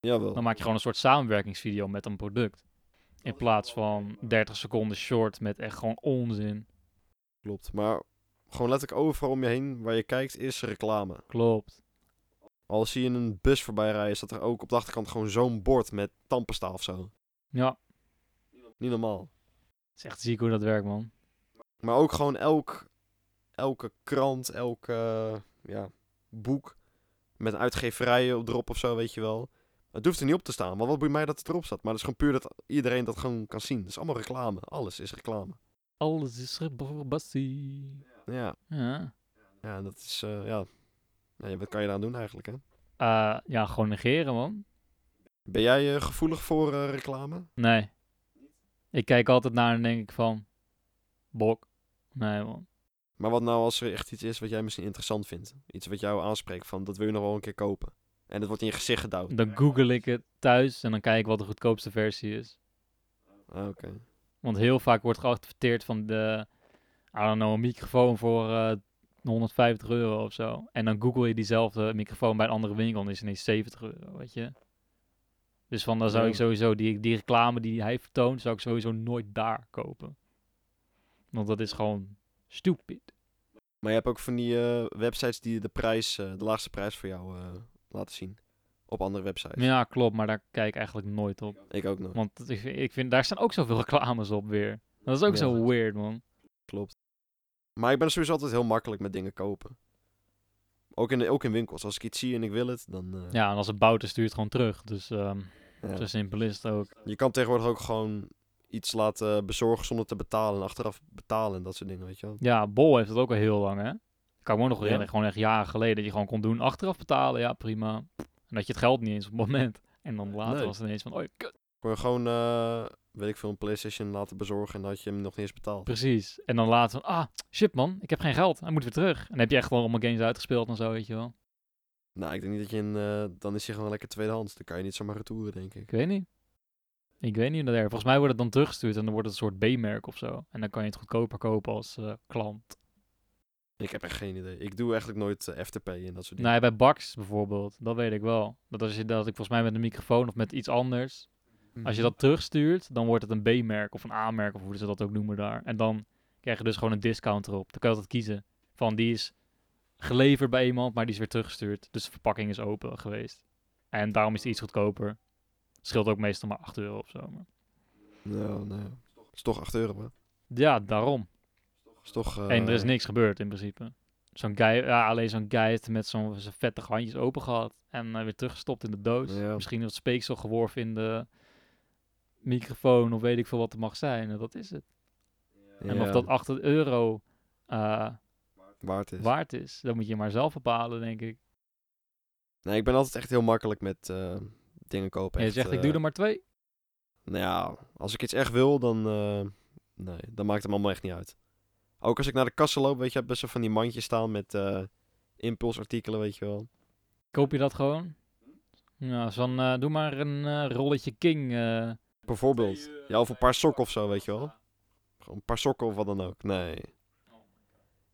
Speaker 1: Jawel.
Speaker 2: Dan maak je gewoon een soort samenwerkingsvideo met een product. In plaats van 30 seconden short met echt gewoon onzin.
Speaker 1: Klopt, maar gewoon letterlijk overal om je heen waar je kijkt is reclame.
Speaker 2: Klopt.
Speaker 1: Al zie je een bus voorbij rijden, staat er ook op de achterkant gewoon zo'n bord met tandpasta of zo.
Speaker 2: Ja, het
Speaker 1: Niet normaal.
Speaker 2: is echt ziek hoe dat werkt, man.
Speaker 1: Maar ook gewoon elk, elke krant, elke eh, ja, boek met een uitgeverij erop of zo, weet je wel. Het hoeft er niet op te staan, maar wat boeit mij dat het erop staat. Maar het is gewoon puur dat iedereen dat gewoon kan zien. Het is allemaal reclame. Alles is reclame.
Speaker 2: Alles is rebassie.
Speaker 1: Ja,
Speaker 2: Ja.
Speaker 1: ja dat is... eh, ja. Nou ja, wat kan je eraan doen eigenlijk, hè?
Speaker 2: Eh, ja, gewoon negeren, man.
Speaker 1: Ben jij eh, gevoelig voor eh, reclame?
Speaker 2: Nee. Ik kijk altijd naar en denk ik van... Bok. Nee, man.
Speaker 1: Maar wat nou als er echt iets is wat jij misschien interessant vindt? Iets wat jou aanspreekt van dat wil je nog wel een keer kopen. En dat wordt in je gezicht gedouwd.
Speaker 2: Dan google ik het thuis en dan kijk ik wat de goedkoopste versie is.
Speaker 1: Ah, Oké.
Speaker 2: Want heel vaak wordt geadverteerd van de... I don't know, een microfoon voor eh 150 euro of zo. En dan google je diezelfde microfoon bij een andere winkel en is het ineens 70 euro, weet je. Dus van, dan zou ik
Speaker 1: Ja.
Speaker 2: sowieso die, die reclame die hij vertoont, zou ik sowieso nooit daar kopen. Want dat is gewoon stupid.
Speaker 1: Maar je hebt ook van die eh, websites die de prijs, eh, de laagste prijs voor jou eh, laten zien. Op andere websites.
Speaker 2: Ja, klopt, maar daar kijk ik eigenlijk nooit op.
Speaker 1: Ik ook nog.
Speaker 2: Want dat- ik, vind- ik vind, daar staan ook zoveel reclames op weer. Dat is ook
Speaker 1: Ja.
Speaker 2: zo weird, man.
Speaker 1: Klopt. Maar ik ben sowieso altijd heel makkelijk met dingen kopen. Ook in, de, ook in winkels. Als ik iets zie en ik wil het, dan... eh,
Speaker 2: Ja, en als het bouwt, dan stuurt het gewoon terug. Dus ehm
Speaker 1: ja.
Speaker 2: zo simpel is het ook.
Speaker 1: Je kan tegenwoordig ook gewoon iets laten bezorgen zonder te betalen. En achteraf betalen en dat soort dingen, weet je wel.
Speaker 2: Ja, Bol heeft het ook al heel lang, hè? Ik kan me ook nog
Speaker 1: Ja.
Speaker 2: herinneren, gewoon echt jaren geleden, dat je gewoon kon doen achteraf betalen. Ja, prima. En dat je het geld niet eens op het moment. En dan later
Speaker 1: Nee.
Speaker 2: was het ineens van, oh, kut.
Speaker 1: Kon je gewoon, eh, weet ik veel, een Playstation laten bezorgen en dan had je hem nog niet eens betaald.
Speaker 2: Precies. En dan later van, ah, shit man, ik heb geen geld. Hij moet weer terug. En dan heb je echt gewoon allemaal games uitgespeeld en zo, weet je wel.
Speaker 1: Nou, ik denk niet dat je een, eh, dan is hij gewoon lekker tweedehands. Dan kan je niet zomaar retouren, denk ik.
Speaker 2: Ik weet niet. Ik weet niet hoe dat er. Volgens mij wordt het dan teruggestuurd en dan wordt het een soort B-merk of zo. En dan kan je het goedkoper kopen als eh, klant.
Speaker 1: Ik heb echt geen idee. Ik doe eigenlijk nooit eh, FTP en dat soort dingen.
Speaker 2: Nou ja, bij Bax bijvoorbeeld, dat weet ik wel. Dat als je dat ik volgens mij met een microfoon of met iets anders, als je
Speaker 1: Mhm.
Speaker 2: dat terugstuurt, dan wordt het een B-merk of een A-merk of hoe ze dat ook noemen daar. En dan krijg je dus gewoon een discount erop. Dan kan je altijd kiezen van die is geleverd bij iemand, maar die is weer teruggestuurd. Dus de verpakking is open geweest. En daarom is het iets goedkoper. Scheelt ook meestal maar 8 euro of zo. maar-
Speaker 1: Nou, nou. Het is toch 8 euro, hè?
Speaker 2: Ja, daarom.
Speaker 1: Het is toch... eh,
Speaker 2: En er is niks gebeurd in principe. Zo'n guy, ja, alleen zo'n guy heeft met zo'n zijn vette handjes open gehad en eh, weer teruggestopt in de doos.
Speaker 1: Ja.
Speaker 2: Misschien wat speeksel geworven in de microfoon of weet ik veel wat er mag zijn. En dat is het. En of
Speaker 1: ja,
Speaker 2: dat 8 euro eh,
Speaker 1: waard is.
Speaker 2: waard is, dat moet je maar zelf bepalen, denk ik.
Speaker 1: Nee, ik ben altijd echt heel makkelijk met eh, dingen kopen.
Speaker 2: En je
Speaker 1: Echt,
Speaker 2: zegt, ik
Speaker 1: eh,
Speaker 2: doe er maar twee.
Speaker 1: Nou ja, als ik iets echt wil, dan eh, Nee, dat maakt hem allemaal echt niet uit. Ook als ik naar de kassen loop, weet je, heb best wel van die mandjes staan met eh, impulsartikelen, weet je wel.
Speaker 2: Koop je dat gewoon? Nou, zo van, eh, doe maar een eh, rolletje King. eh.
Speaker 1: Bijvoorbeeld. Ja, of een paar sokken of zo, weet je wel. Gewoon een paar sokken of wat dan ook. Nee.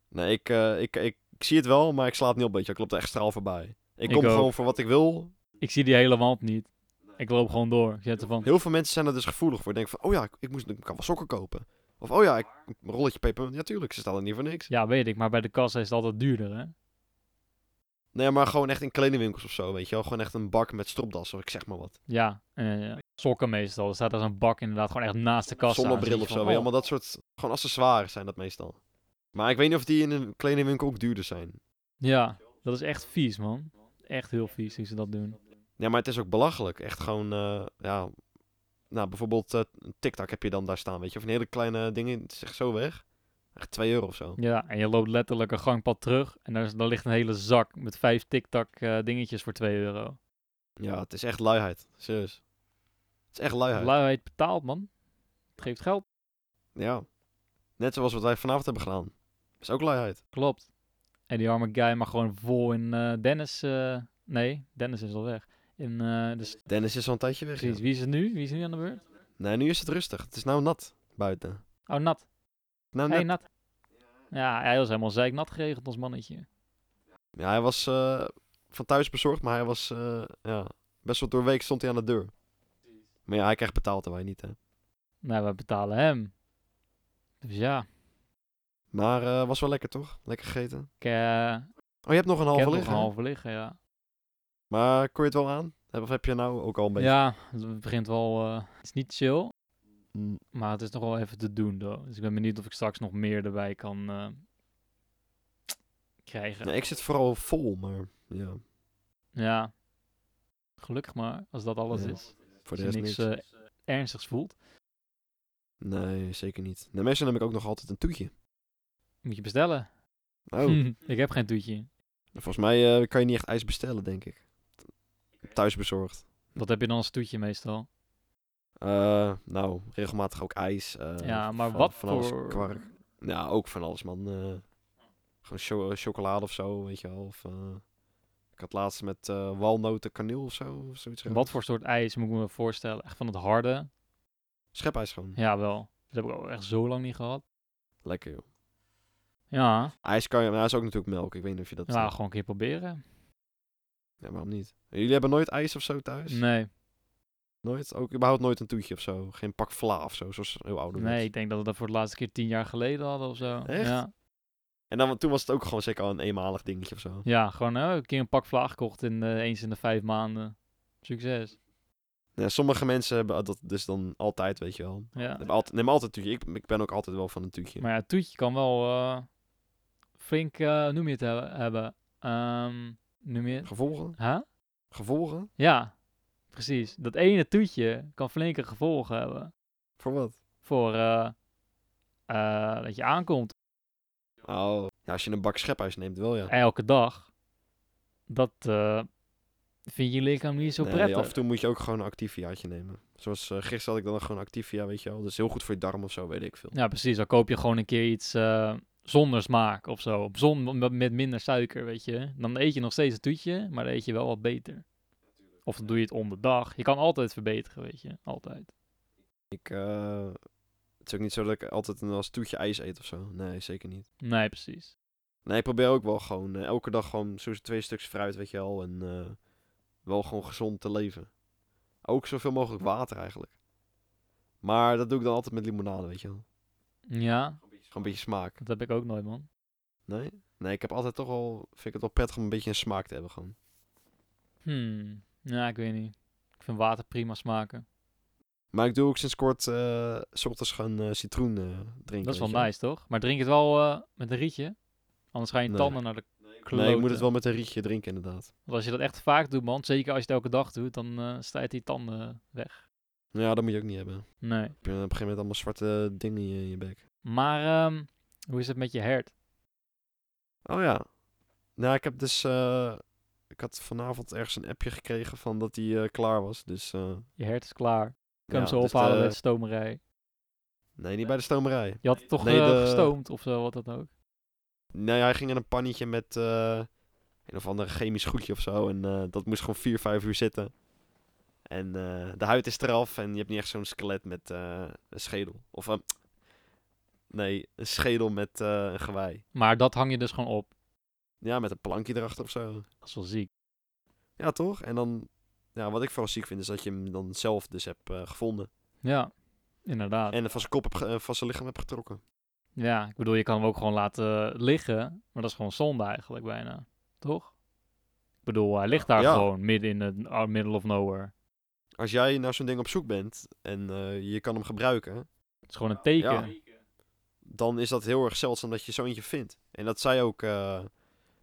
Speaker 1: Nee, ik, eh, ik, ik, ik zie het wel, maar ik sla het niet op, weet je. Ik loop er echt straal voorbij. Ik
Speaker 2: Ik
Speaker 1: kom
Speaker 2: ook.
Speaker 1: gewoon voor wat ik wil.
Speaker 2: Ik zie die hele wand niet. Ik loop gewoon door. Ik zet er van,
Speaker 1: Heel veel mensen zijn er dus gevoelig voor. Die denken van, oh ja, ik, ik, moest, ik kan wel sokken kopen. Of, oh ja, ik, een rolletje peper. Ja, tuurlijk, ze staan er niet voor niks.
Speaker 2: ja, weet ik, maar bij de kassa is het altijd duurder, hè?
Speaker 1: Nee, maar gewoon echt in kledingwinkels of zo, weet je wel. Gewoon echt een bak met stropdas, of ik zeg maar wat.
Speaker 2: Ja, eh, sokken meestal. Er staat als een bak inderdaad gewoon echt naast de kassa.
Speaker 1: Zonnebril
Speaker 2: Dan
Speaker 1: of
Speaker 2: zie je
Speaker 1: zo.
Speaker 2: van,
Speaker 1: Weet je,
Speaker 2: oh,
Speaker 1: allemaal dat soort, gewoon accessoires zijn dat meestal. Maar ik weet niet of die in een kledingwinkel ook duurder zijn.
Speaker 2: Ja, dat is echt vies, man. Echt heel vies hoe ze dat doen.
Speaker 1: Ja, maar het is ook belachelijk. Echt gewoon, eh, ja... Nou, bijvoorbeeld eh, een TikTok heb je dan daar staan, weet je. Of een hele kleine ding, het is echt zo weg. Echt 2 euro of zo.
Speaker 2: Ja, en je loopt letterlijk een gangpad terug. En daar, is- daar ligt een hele zak met vijf tik-tak eh, dingetjes voor 2 euro.
Speaker 1: Oh, Ja, het is echt luiheid. Serieus. Het is echt luiheid.
Speaker 2: Luiheid betaalt, man. Het geeft geld.
Speaker 1: ja. Net zoals wat wij vanavond hebben gedaan. is ook luiheid.
Speaker 2: Klopt. En die arme guy mag gewoon vol in eh, Dennis. eh, nee, Dennis is al weg. In, eh, dus
Speaker 1: Dennis is al een tijdje weg.
Speaker 2: precies,
Speaker 1: ja.
Speaker 2: wie is het nu? Wie is er nu aan de beurt?
Speaker 1: Nee, nu is het rustig. Het is nou nat buiten.
Speaker 2: Oh, Nat.
Speaker 1: Nou,
Speaker 2: Hey,
Speaker 1: net-
Speaker 2: Nat. Ja, hij was helemaal zeiknat geregeld, ons mannetje.
Speaker 1: Ja, hij was eh, van thuis bezorgd, maar hij was eh, ja, best wel doorweek stond hij aan de deur. Maar ja, hij krijgt betaald en wij niet, hè.
Speaker 2: Nou, we betalen hem. Dus ja,
Speaker 1: Maar eh, was wel lekker, toch? Lekker gegeten.
Speaker 2: ik, eh, ik
Speaker 1: Oh, je hebt nog een
Speaker 2: heb
Speaker 1: halve
Speaker 2: nog een
Speaker 1: liggen.
Speaker 2: halve liggen, ja.
Speaker 1: Maar kon je het wel aan? Heb- Of heb je nou ook al een beetje...
Speaker 2: Ja, het begint wel... eh, het is niet chill,
Speaker 1: Mm,
Speaker 2: maar het is nog wel even te doen, though. Dus ik ben benieuwd of ik straks nog meer erbij kan eh, krijgen.
Speaker 1: nee, ik zit vooral vol, maar ja,
Speaker 2: Ja. Gelukkig maar, als dat alles
Speaker 1: Ja,
Speaker 2: is.
Speaker 1: voor
Speaker 2: Als
Speaker 1: de
Speaker 2: je
Speaker 1: rest
Speaker 2: niks
Speaker 1: niks.
Speaker 2: eh, ernstigs voelt,
Speaker 1: Nee, zeker niet. De meestal heb ik ook nog altijd een toetje.
Speaker 2: moet je bestellen.
Speaker 1: Oh,
Speaker 2: ik heb geen toetje.
Speaker 1: volgens mij eh, kan je niet echt ijs bestellen, denk ik. Thuis bezorgd.
Speaker 2: Wat heb je dan als toetje meestal?
Speaker 1: Eh, nou, regelmatig ook ijs. eh,
Speaker 2: ja, maar
Speaker 1: van-
Speaker 2: wat
Speaker 1: van alles
Speaker 2: voor...
Speaker 1: kwark. Ja, ook van alles, man. Eh, gewoon cho- eh, chocolade of zo, weet je wel. Of, eh, ik had laatst met eh, walnoten, kaneel of zo. Of zoiets
Speaker 2: Wat voor soort ijs moet ik me voorstellen? Echt van het harde?
Speaker 1: Schepijs gewoon.
Speaker 2: Ja, wel. Dat heb ik ook echt zo lang niet gehad.
Speaker 1: Lekker, joh.
Speaker 2: Ja,
Speaker 1: IJs kan je... Maar is ook natuurlijk melk. Ik weet niet of je dat...
Speaker 2: ja
Speaker 1: eh,
Speaker 2: Nou, gewoon een keer proberen.
Speaker 1: ja, waarom niet? Jullie hebben nooit ijs of zo thuis?
Speaker 2: Nee,
Speaker 1: Nooit? Ook überhaupt nooit een toetje of zo? Geen pak vla of zo, zoals heel ouder
Speaker 2: nee, ik denk dat we dat voor de laatste keer tien jaar geleden hadden of zo.
Speaker 1: Echt?
Speaker 2: Ja,
Speaker 1: En dan, toen was het ook gewoon zeker al een eenmalig dingetje of zo.
Speaker 2: ja gewoon eh, een keer een pak vlaag gekocht in, eh, eens in de vijf maanden. Succes.
Speaker 1: Ja, sommige mensen hebben dat dus dan altijd, weet je wel.
Speaker 2: Ja.
Speaker 1: Neem altijd, neem altijd een toetje. Ik, ik ben ook altijd wel van een toetje.
Speaker 2: Maar ja, het toetje kan wel eh, flink, eh, hoe noem je het, hebben. hebben. Ehm, noem je het?
Speaker 1: Gevolgen?
Speaker 2: Huh?
Speaker 1: Gevolgen?
Speaker 2: Ja, precies. Dat ene toetje kan flinke gevolgen hebben
Speaker 1: Voor wat?
Speaker 2: voor eh, eh, dat je aankomt
Speaker 1: Oh. Ja, als je een bak schephuis neemt, wel ja.
Speaker 2: elke dag. Dat eh vind je lichaam niet zo
Speaker 1: Nee,
Speaker 2: prettig.
Speaker 1: af en toe moet je ook gewoon een activiaatje nemen. Zoals eh, gisteren had ik dan gewoon een activia, weet je wel. Dat is heel goed voor je darm of zo, weet ik veel.
Speaker 2: Ja, precies. Dan koop je gewoon een keer iets eh, zonder smaak of zo. Op zon met- met minder suiker, weet je. Dan eet je nog steeds een toetje, maar dan eet je wel wat beter. Of dan doe je het onderdag. Je kan altijd verbeteren, weet je. Altijd.
Speaker 1: Ik, eh, het is ook niet zo dat ik altijd een als toetje ijs eet of zo. Nee, zeker niet.
Speaker 2: Nee, precies.
Speaker 1: Nee, ik probeer ook wel gewoon eh, elke dag gewoon zo twee stuks fruit, weet je wel. En eh, wel gewoon gezond te leven. Ook zoveel mogelijk water eigenlijk. Maar dat doe ik dan altijd met limonade, weet je wel.
Speaker 2: Ja,
Speaker 1: Gewoon een beetje smaak.
Speaker 2: dat heb ik ook nooit, man.
Speaker 1: Nee? Nee, ik heb altijd toch al... Vind ik het wel prettig om een beetje een smaak te hebben gewoon.
Speaker 2: Hmm. Ja, ik weet niet. Ik vind water prima smaken.
Speaker 1: Maar ik doe ook sinds kort eh, s ochtends gewoon eh, citroen eh, drinken.
Speaker 2: Dat is wel
Speaker 1: weet je
Speaker 2: nice, toch? Maar drink het wel eh, met een rietje. Anders gaan je
Speaker 1: Nee.
Speaker 2: tanden naar de
Speaker 1: wel.
Speaker 2: kloten.
Speaker 1: Nee, je moet het wel met een rietje drinken inderdaad.
Speaker 2: Want als je dat echt vaak doet, man. Zeker als je het elke dag doet, dan eh stijt die tanden weg.
Speaker 1: Nou Ja, dat moet je ook niet hebben. Dan
Speaker 2: Nee.
Speaker 1: heb je op een gegeven moment allemaal zwarte dingen in je, in je bek.
Speaker 2: Maar ehm, hoe is het met je hert?
Speaker 1: Oh ja. Nou, ik heb dus... eh, ik had vanavond ergens een appje gekregen van dat hij klaar was. Dus... eh,
Speaker 2: Je hert is klaar. Ik kan
Speaker 1: ja,
Speaker 2: hem zo
Speaker 1: dus
Speaker 2: ophalen
Speaker 1: de-
Speaker 2: bij de stomerij.
Speaker 1: Nee, niet bij de stomerij.
Speaker 2: Je had het toch
Speaker 1: Nee,
Speaker 2: eh,
Speaker 1: de-
Speaker 2: gestoomd of zo, wat dat ook.
Speaker 1: Nee, hij ging in een pannetje met eh, een of ander chemisch goedje of zo. En eh, dat moest gewoon 4, 5 uur zitten. En eh, de huid is eraf en je hebt niet echt zo'n skelet met eh, een schedel. Of een... Nee, een schedel met eh, een gewei.
Speaker 2: Maar dat hang je dus gewoon op.
Speaker 1: Ja, met een plankje erachter of zo.
Speaker 2: Dat is wel ziek.
Speaker 1: Ja, toch? En dan... Ja, wat ik vooral ziek vind is dat je hem dan zelf dus hebt eh, gevonden.
Speaker 2: Ja, inderdaad.
Speaker 1: En van zijn kop, heb ge- eh, van zijn lichaam hebt getrokken.
Speaker 2: Ja, ik bedoel, je kan hem ook gewoon laten liggen. Maar dat is gewoon zonde eigenlijk bijna. Toch? Ik bedoel, hij ligt daar
Speaker 1: Ja.
Speaker 2: gewoon midden in het uh, middle of nowhere.
Speaker 1: Als jij naar zo'n ding op zoek bent en eh, je kan hem gebruiken...
Speaker 2: Het is gewoon een teken.
Speaker 1: Ja. dan is dat heel erg zeldzaam dat je zo eentje vindt. En dat zei ook eh,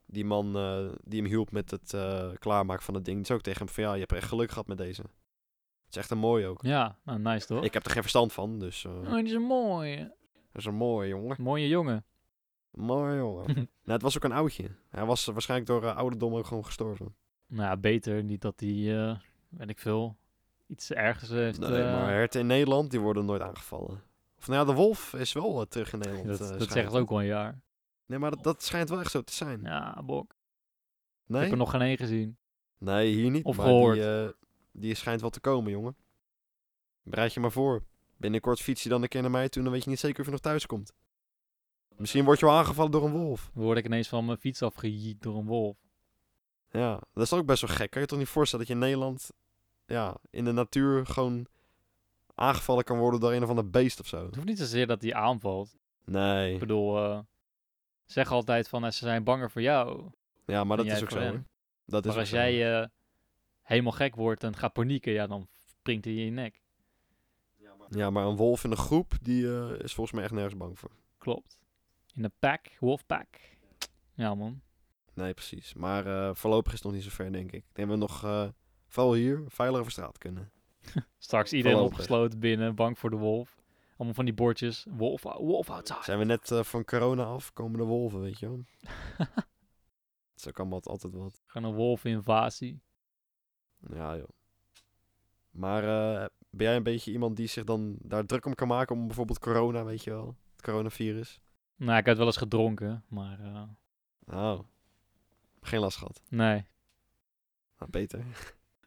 Speaker 1: die man eh, die hem hielp met het eh, klaarmaken van het ding. Die zei ook tegen hem van ja, je hebt echt geluk gehad met deze. Het is echt een mooi ook.
Speaker 2: Ja, nou, nice toch?
Speaker 1: Ik heb er geen verstand van, dus eh,
Speaker 2: Oh, die is een mooie.
Speaker 1: dat is een mooie jongen.
Speaker 2: Mooie jongen.
Speaker 1: Mooi jongen. nou, het was ook een oudje. Hij was waarschijnlijk door eh, ouderdom ook gewoon gestorven.
Speaker 2: Nou, ja, beter niet dat hij, eh, weet ik veel, iets ergens heeft.
Speaker 1: Nee,
Speaker 2: eh,
Speaker 1: maar herten in Nederland, die worden nooit aangevallen. Of nou ja, de wolf is wel eh, terug in
Speaker 2: dat
Speaker 1: Nederland. eh,
Speaker 2: dat
Speaker 1: schijnt.
Speaker 2: zegt ook al een jaar.
Speaker 1: Nee, maar dat, dat schijnt wel echt zo te zijn.
Speaker 2: Ja, bok. Ik
Speaker 1: Nee?
Speaker 2: heb er nog geen één gezien.
Speaker 1: Nee, hier niet.
Speaker 2: Of
Speaker 1: maar
Speaker 2: gehoord.
Speaker 1: Die, eh, die schijnt wel te komen, jongen. Bereid je maar voor. Binnenkort fiets je dan een keer naar mij toe, dan weet je niet zeker of je nog thuis komt. Misschien word je wel aangevallen door een wolf.
Speaker 2: Dan word ik ineens van mijn fiets afgejiet door een wolf.
Speaker 1: Ja, dat is ook best wel gek. Kan je je toch niet voorstellen dat je in Nederland ja, in de natuur gewoon aangevallen kan worden door een of ander beest of zo?
Speaker 2: Het hoeft niet zozeer dat hij aanvalt. Ik
Speaker 1: Nee.
Speaker 2: bedoel, eh, zeg altijd van eh, ze zijn banger voor jou.
Speaker 1: Ja, maar dat
Speaker 2: jij
Speaker 1: is ook
Speaker 2: voor
Speaker 1: zo.
Speaker 2: hem.
Speaker 1: hoor. Dat is
Speaker 2: maar
Speaker 1: ook
Speaker 2: als
Speaker 1: zo.
Speaker 2: jij eh, helemaal gek wordt en gaat panieken, ja, dan springt hij in je nek.
Speaker 1: Ja, maar een wolf in een groep, die eh, is volgens mij echt nergens bang voor.
Speaker 2: Klopt. In een pack, wolfpack. Ja, man.
Speaker 1: Nee, precies. Maar eh, voorlopig is het nog niet zo ver, denk ik. Ik denk dat we nog, eh, vooral hier, veilig over straat kunnen.
Speaker 2: Straks iedereen
Speaker 1: Voorlopig.
Speaker 2: opgesloten binnen, bang voor de wolf. Allemaal van die bordjes. Wolf, oh, wolf outside.
Speaker 1: Zijn we net eh, van corona af, komen de wolven, weet je wel. Dat is ook allemaal altijd wat.
Speaker 2: Gewoon een wolfinvasie.
Speaker 1: Ja, joh. Maar eh, ben jij een beetje iemand die zich dan daar druk om kan maken om bijvoorbeeld corona, weet je wel? Het coronavirus.
Speaker 2: Nou, ik had wel eens gedronken, maar eh,
Speaker 1: Oh. Geen last gehad.
Speaker 2: nee.
Speaker 1: Nou, beter.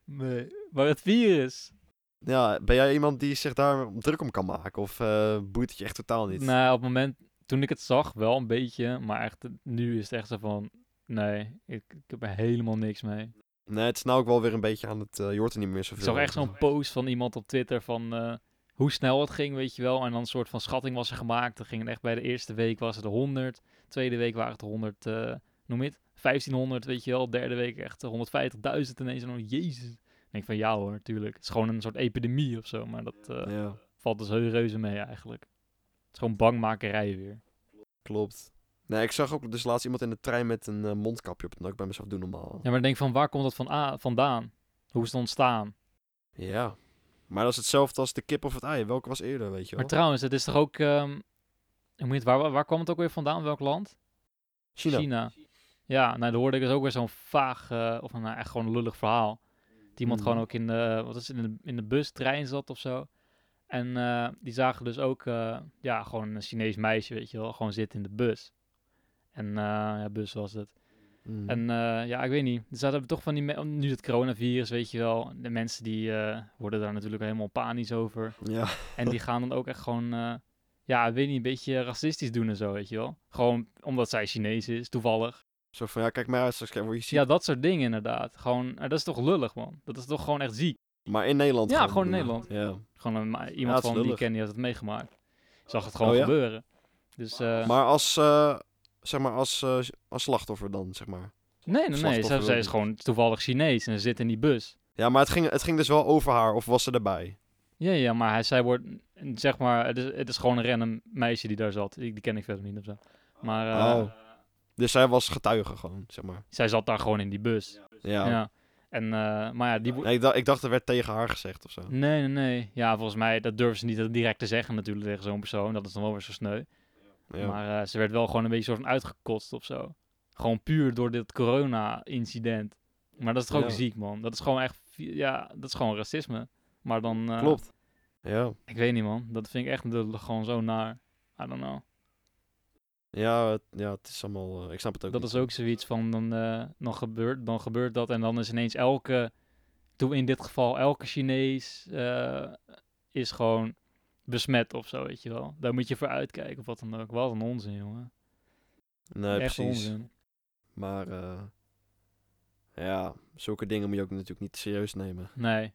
Speaker 2: Nee. Maar het virus.
Speaker 1: Ja, ben jij iemand die zich daar druk om kan maken? Of eh, boeit het je echt totaal niet?
Speaker 2: Nou, op het moment toen ik het zag, wel een beetje. Maar echt, nu is het echt zo van. Nee, ik, ik heb er helemaal niks mee.
Speaker 1: Nee, het is nou ook wel weer een beetje aan het... eh je hoort er niet meer zoveel
Speaker 2: Ik zag echt
Speaker 1: over.
Speaker 2: zo'n post van iemand op Twitter van eh, hoe snel het ging, weet je wel. En dan een soort van schatting was er gemaakt. Dan ging het echt bij de eerste week was het 100. Tweede week waren het 100, eh, noem je het, 1500, weet je wel. Derde week echt 150.000 ineens. En dan, jezus. Ik denk van, ja hoor, tuurlijk. Het is gewoon een soort epidemie of zo. Maar dat eh,
Speaker 1: Ja,
Speaker 2: valt dus heel reuze mee eigenlijk. Het is gewoon bangmakerij weer.
Speaker 1: klopt. Nee, ik zag ook dus laatst iemand in de trein met een eh, mondkapje op. Dat ik bij mezelf doe normaal.
Speaker 2: Ja, maar dan denk ik van, waar komt dat van a- vandaan? Hoe is het ontstaan?
Speaker 1: Ja. Maar dat is hetzelfde als de kip of het ei. Welke was eerder, weet je wel?
Speaker 2: Maar trouwens, het is toch ook... ehm, hoe moet je het- waar, waar kwam het ook weer vandaan? Welk land? China. Ja, nou, daar hoorde ik dus ook weer zo'n vaag, eh, of nou, echt gewoon een lullig verhaal. Dat iemand
Speaker 1: Mm.
Speaker 2: gewoon ook in de, wat is het, in de, in de bus, trein zat of zo. En eh, die zagen dus ook, eh, ja, gewoon een Chinees meisje, weet je wel, gewoon zitten in de bus. En, eh, ja, bus was het.
Speaker 1: Mm.
Speaker 2: En eh, ja, ik weet niet. Dus dat hebben toch van die... me- Nu het coronavirus, weet je wel. De mensen die eh, worden daar natuurlijk helemaal panisch over.
Speaker 1: Ja.
Speaker 2: En die gaan dan ook echt gewoon, eh, ja, ik weet niet, een beetje racistisch doen en zo, weet je wel. Gewoon omdat zij Chinees is, toevallig.
Speaker 1: Zo van, ja, kijk maar uit, straks word je ziek.
Speaker 2: Ja, dat soort dingen inderdaad. Gewoon, eh, dat is toch lullig, man. Dat is toch gewoon echt ziek.
Speaker 1: Maar in Nederland
Speaker 2: Ja, gewoon
Speaker 1: doen.
Speaker 2: in Nederland.
Speaker 1: Ja.
Speaker 2: Gewoon een, ma-
Speaker 1: Ja,
Speaker 2: iemand
Speaker 1: het is
Speaker 2: van die ik
Speaker 1: lullig.
Speaker 2: ken, die had het meegemaakt. Zag het gewoon
Speaker 1: Oh, ja?
Speaker 2: gebeuren. Dus, eh,
Speaker 1: Maar als, eh, zeg maar, als, eh, als slachtoffer dan, zeg maar.
Speaker 2: nee, nee, nee.
Speaker 1: slachtoffer
Speaker 2: Zij,
Speaker 1: wil
Speaker 2: zij
Speaker 1: ik
Speaker 2: is
Speaker 1: niet.
Speaker 2: gewoon toevallig Chinees en ze zit in die bus.
Speaker 1: Ja, maar het ging, het ging dus wel over haar, of was ze erbij?
Speaker 2: Ja, ja, maar hij, zij wordt, mm, zeg maar, het is, het is gewoon een random meisje die daar zat. Die, die ken ik verder niet of zo. Maar eh,
Speaker 1: Oh. Dus zij was getuige gewoon, zeg maar.
Speaker 2: zij zat daar gewoon in die bus.
Speaker 1: Ja.
Speaker 2: Ja. En, eh, maar ja, die... wo-
Speaker 1: Nee, ik, dacht, ik dacht, er werd tegen haar gezegd of zo.
Speaker 2: Nee, nee, nee. Ja, volgens mij, dat durven ze niet direct te zeggen natuurlijk tegen zo'n persoon. Dat is dan wel weer zo sneu.
Speaker 1: Ja.
Speaker 2: Maar eh, ze werd wel gewoon een beetje soort van uitgekotst of zo. Gewoon puur door dit corona-incident. Maar dat is toch ook
Speaker 1: Ja.
Speaker 2: ziek, man. Dat is gewoon echt... vi- Ja, dat is gewoon racisme. Maar dan... eh,
Speaker 1: Klopt. Ja.
Speaker 2: Ik weet niet, man. Dat vind ik echt de- gewoon zo naar. I don't know.
Speaker 1: Ja, het, ja, het is allemaal... eh, ik snap het ook
Speaker 2: Dat
Speaker 1: niet.
Speaker 2: is ook zoiets van, dan, eh, dan, gebeurt, dan gebeurt dat en dan is ineens elke, toen in dit geval elke Chinees, eh, is gewoon besmet of zo, weet je wel. Daar moet je voor uitkijken of wat dan ook. Wat een onzin, jongen.
Speaker 1: Nee,
Speaker 2: Echt
Speaker 1: precies.
Speaker 2: onzin.
Speaker 1: Maar eh, ja, zulke dingen moet je ook natuurlijk niet serieus nemen.
Speaker 2: Nee,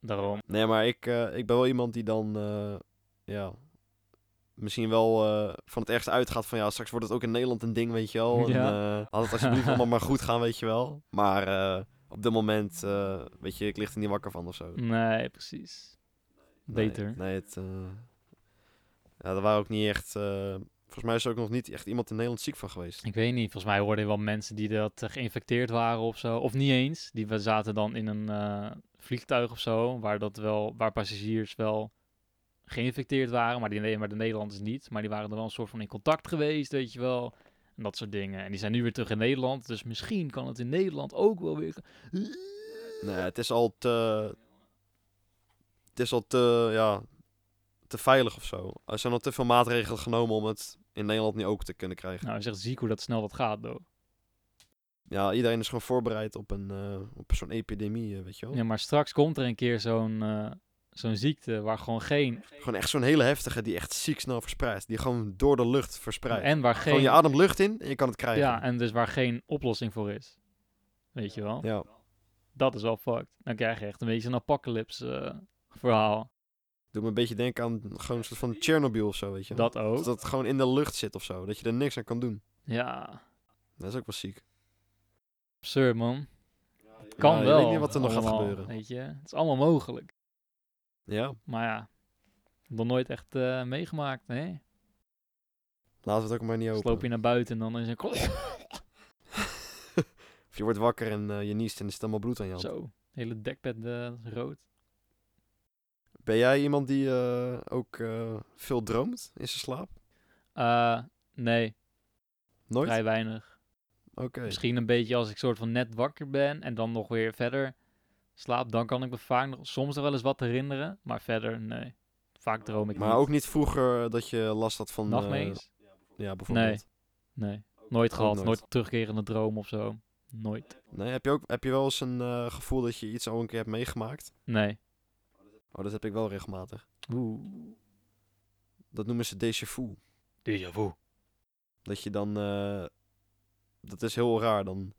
Speaker 2: daarom.
Speaker 1: Nee, maar ik, eh, ik ben wel iemand die dan eh, ja, misschien wel eh, van het ergste uitgaat van ja, straks wordt het ook in Nederland een ding, weet je wel. En,
Speaker 2: Ja.
Speaker 1: eh, laat het alsjeblieft allemaal maar goed gaan, weet je wel. Maar eh, op dit moment, eh, weet je, ik lig er niet wakker van of zo.
Speaker 2: Nee, precies.
Speaker 1: Nee,
Speaker 2: Beter.
Speaker 1: Nee, het, eh, ja, er waren ook niet echt, eh, volgens mij is er ook nog niet echt iemand in Nederland ziek van geweest.
Speaker 2: Ik weet niet, volgens mij hoorde je wel mensen die dat eh, geïnfecteerd waren of zo. Of niet eens. Die we zaten dan in een eh, vliegtuig of zo, waar, dat wel, waar passagiers wel geïnfecteerd waren, maar, die, maar de Nederlanders niet. Maar die waren er wel een soort van in contact geweest, weet je wel. En dat soort dingen. En die zijn nu weer terug in Nederland, dus misschien kan het in Nederland ook wel weer...
Speaker 1: Nee, het is al te. Het is al te. Ja. Te veilig of zo. Er zijn al te veel maatregelen genomen om het in Nederland nu ook te kunnen krijgen.
Speaker 2: Nou, is echt ziek hoe dat snel dat gaat, though.
Speaker 1: Ja, iedereen is gewoon voorbereid op, een, eh, op zo'n epidemie, eh, weet je wel.
Speaker 2: Ja, maar straks komt er een keer zo'n eh, zo'n ziekte waar gewoon geen...
Speaker 1: Gewoon echt zo'n hele heftige die echt ziek snel verspreidt. Die gewoon door de lucht verspreidt.
Speaker 2: En waar
Speaker 1: Gewoon je
Speaker 2: geen...
Speaker 1: ademt lucht in en je kan het krijgen.
Speaker 2: Ja, en dus waar geen oplossing voor is. Weet je wel?
Speaker 1: ja.
Speaker 2: Dat is wel fucked. Dan krijg je echt een beetje een apocalypse eh, verhaal.
Speaker 1: Doe me een beetje denken aan gewoon een soort van Chernobyl of zo, weet je wel.
Speaker 2: Dat ook.
Speaker 1: Dat het gewoon in de lucht zit of zo. Dat je er niks aan kan doen.
Speaker 2: Ja,
Speaker 1: Dat is ook wel ziek.
Speaker 2: absurd man. Kan
Speaker 1: Ja,
Speaker 2: wel.
Speaker 1: Je weet niet wat er nog gaat
Speaker 2: allemaal,
Speaker 1: gebeuren.
Speaker 2: Weet je, het is allemaal mogelijk.
Speaker 1: Ja.
Speaker 2: Maar ja, nog nooit echt eh, meegemaakt, hè?
Speaker 1: Laten we het ook maar niet
Speaker 2: Dus
Speaker 1: open.
Speaker 2: loop je naar buiten en dan is een
Speaker 1: Of je wordt wakker en eh, je niest en er zit allemaal bloed aan je hand.
Speaker 2: zo. Hele dekbed eh, rood.
Speaker 1: Ben jij iemand die eh, ook eh, veel droomt in zijn slaap?
Speaker 2: Eh, nee,
Speaker 1: Nooit?
Speaker 2: vrij weinig.
Speaker 1: Oké.
Speaker 2: Misschien een beetje als ik soort van net wakker ben en dan nog weer verder slaap, dan kan ik me vaak nog, soms nog wel eens wat herinneren. Maar verder, nee. Vaak droom ik
Speaker 1: Maar
Speaker 2: niet.
Speaker 1: ook niet vroeger eh, dat je last had van... eh,
Speaker 2: Nachtmerries?
Speaker 1: ja, bijvoorbeeld.
Speaker 2: Nee, nooit gehad.
Speaker 1: nooit.
Speaker 2: Nooit. terugkerende droom of zo. Nooit.
Speaker 1: Nee. heb, je ook, heb je wel eens een eh, gevoel dat je iets al een keer hebt meegemaakt?
Speaker 2: Nee.
Speaker 1: Oh, dat heb ik wel regelmatig.
Speaker 2: Oeh.
Speaker 1: Dat noemen ze déjà vu.
Speaker 2: Déjà vu.
Speaker 1: Dat je dan... eh, dat is heel raar. Dan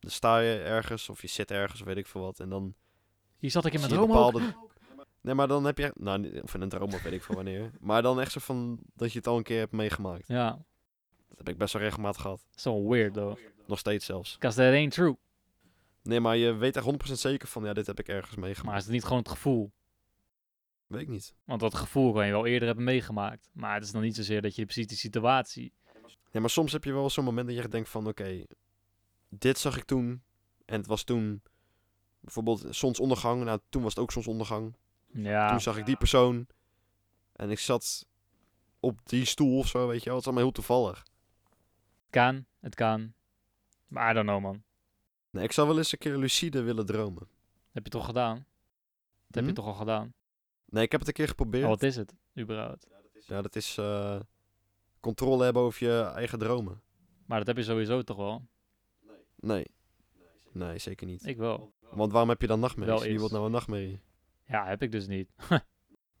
Speaker 1: sta je ergens of je zit ergens of weet ik veel wat. En dan
Speaker 2: Hier zat ik in mijn
Speaker 1: Zie je
Speaker 2: droom ook.
Speaker 1: bepaalde- Nee, maar dan heb je... Nou, niet- of in een droom of weet ik veel wanneer. Maar dan echt zo van dat je het al een keer hebt meegemaakt.
Speaker 2: Ja,
Speaker 1: Dat heb ik best wel regelmatig gehad.
Speaker 2: zo weird though.
Speaker 1: Nog steeds zelfs.
Speaker 2: Because that ain't true.
Speaker 1: Nee, maar je weet echt 100% zeker van, ja, dit heb ik ergens
Speaker 2: Maar
Speaker 1: meegemaakt.
Speaker 2: is het niet gewoon het gevoel?
Speaker 1: Weet ik niet.
Speaker 2: Want dat gevoel kan je wel eerder hebben meegemaakt. Maar het is dan niet zozeer dat je precies die situatie...
Speaker 1: Nee, maar soms heb je wel zo'n moment dat je echt denkt van, oké, dit zag ik toen. En het was toen bijvoorbeeld zonsondergang. Nou, toen was het ook zonsondergang.
Speaker 2: Ja,
Speaker 1: Toen zag ik die persoon. En ik zat op die stoel of zo, weet je wel. Het is allemaal heel toevallig.
Speaker 2: het kan. Het kan. Maar I don't know man.
Speaker 1: Nee, ik zou wel eens een keer lucide willen dromen.
Speaker 2: Dat heb je toch gedaan? Dat heb
Speaker 1: Hm?
Speaker 2: je toch al gedaan?
Speaker 1: Nee, ik heb het een keer
Speaker 2: Oh,
Speaker 1: geprobeerd.
Speaker 2: wat is het, überhaupt?
Speaker 1: Ja, dat is eh, controle hebben over je eigen dromen.
Speaker 2: Maar dat heb je sowieso toch wel?
Speaker 1: Nee. Nee, zeker niet.
Speaker 2: Ik wel.
Speaker 1: Want waarom heb je dan nachtmerries?
Speaker 2: Wel
Speaker 1: Wie
Speaker 2: eens.
Speaker 1: wordt nou een nachtmerrie?
Speaker 2: Ja, heb ik dus niet.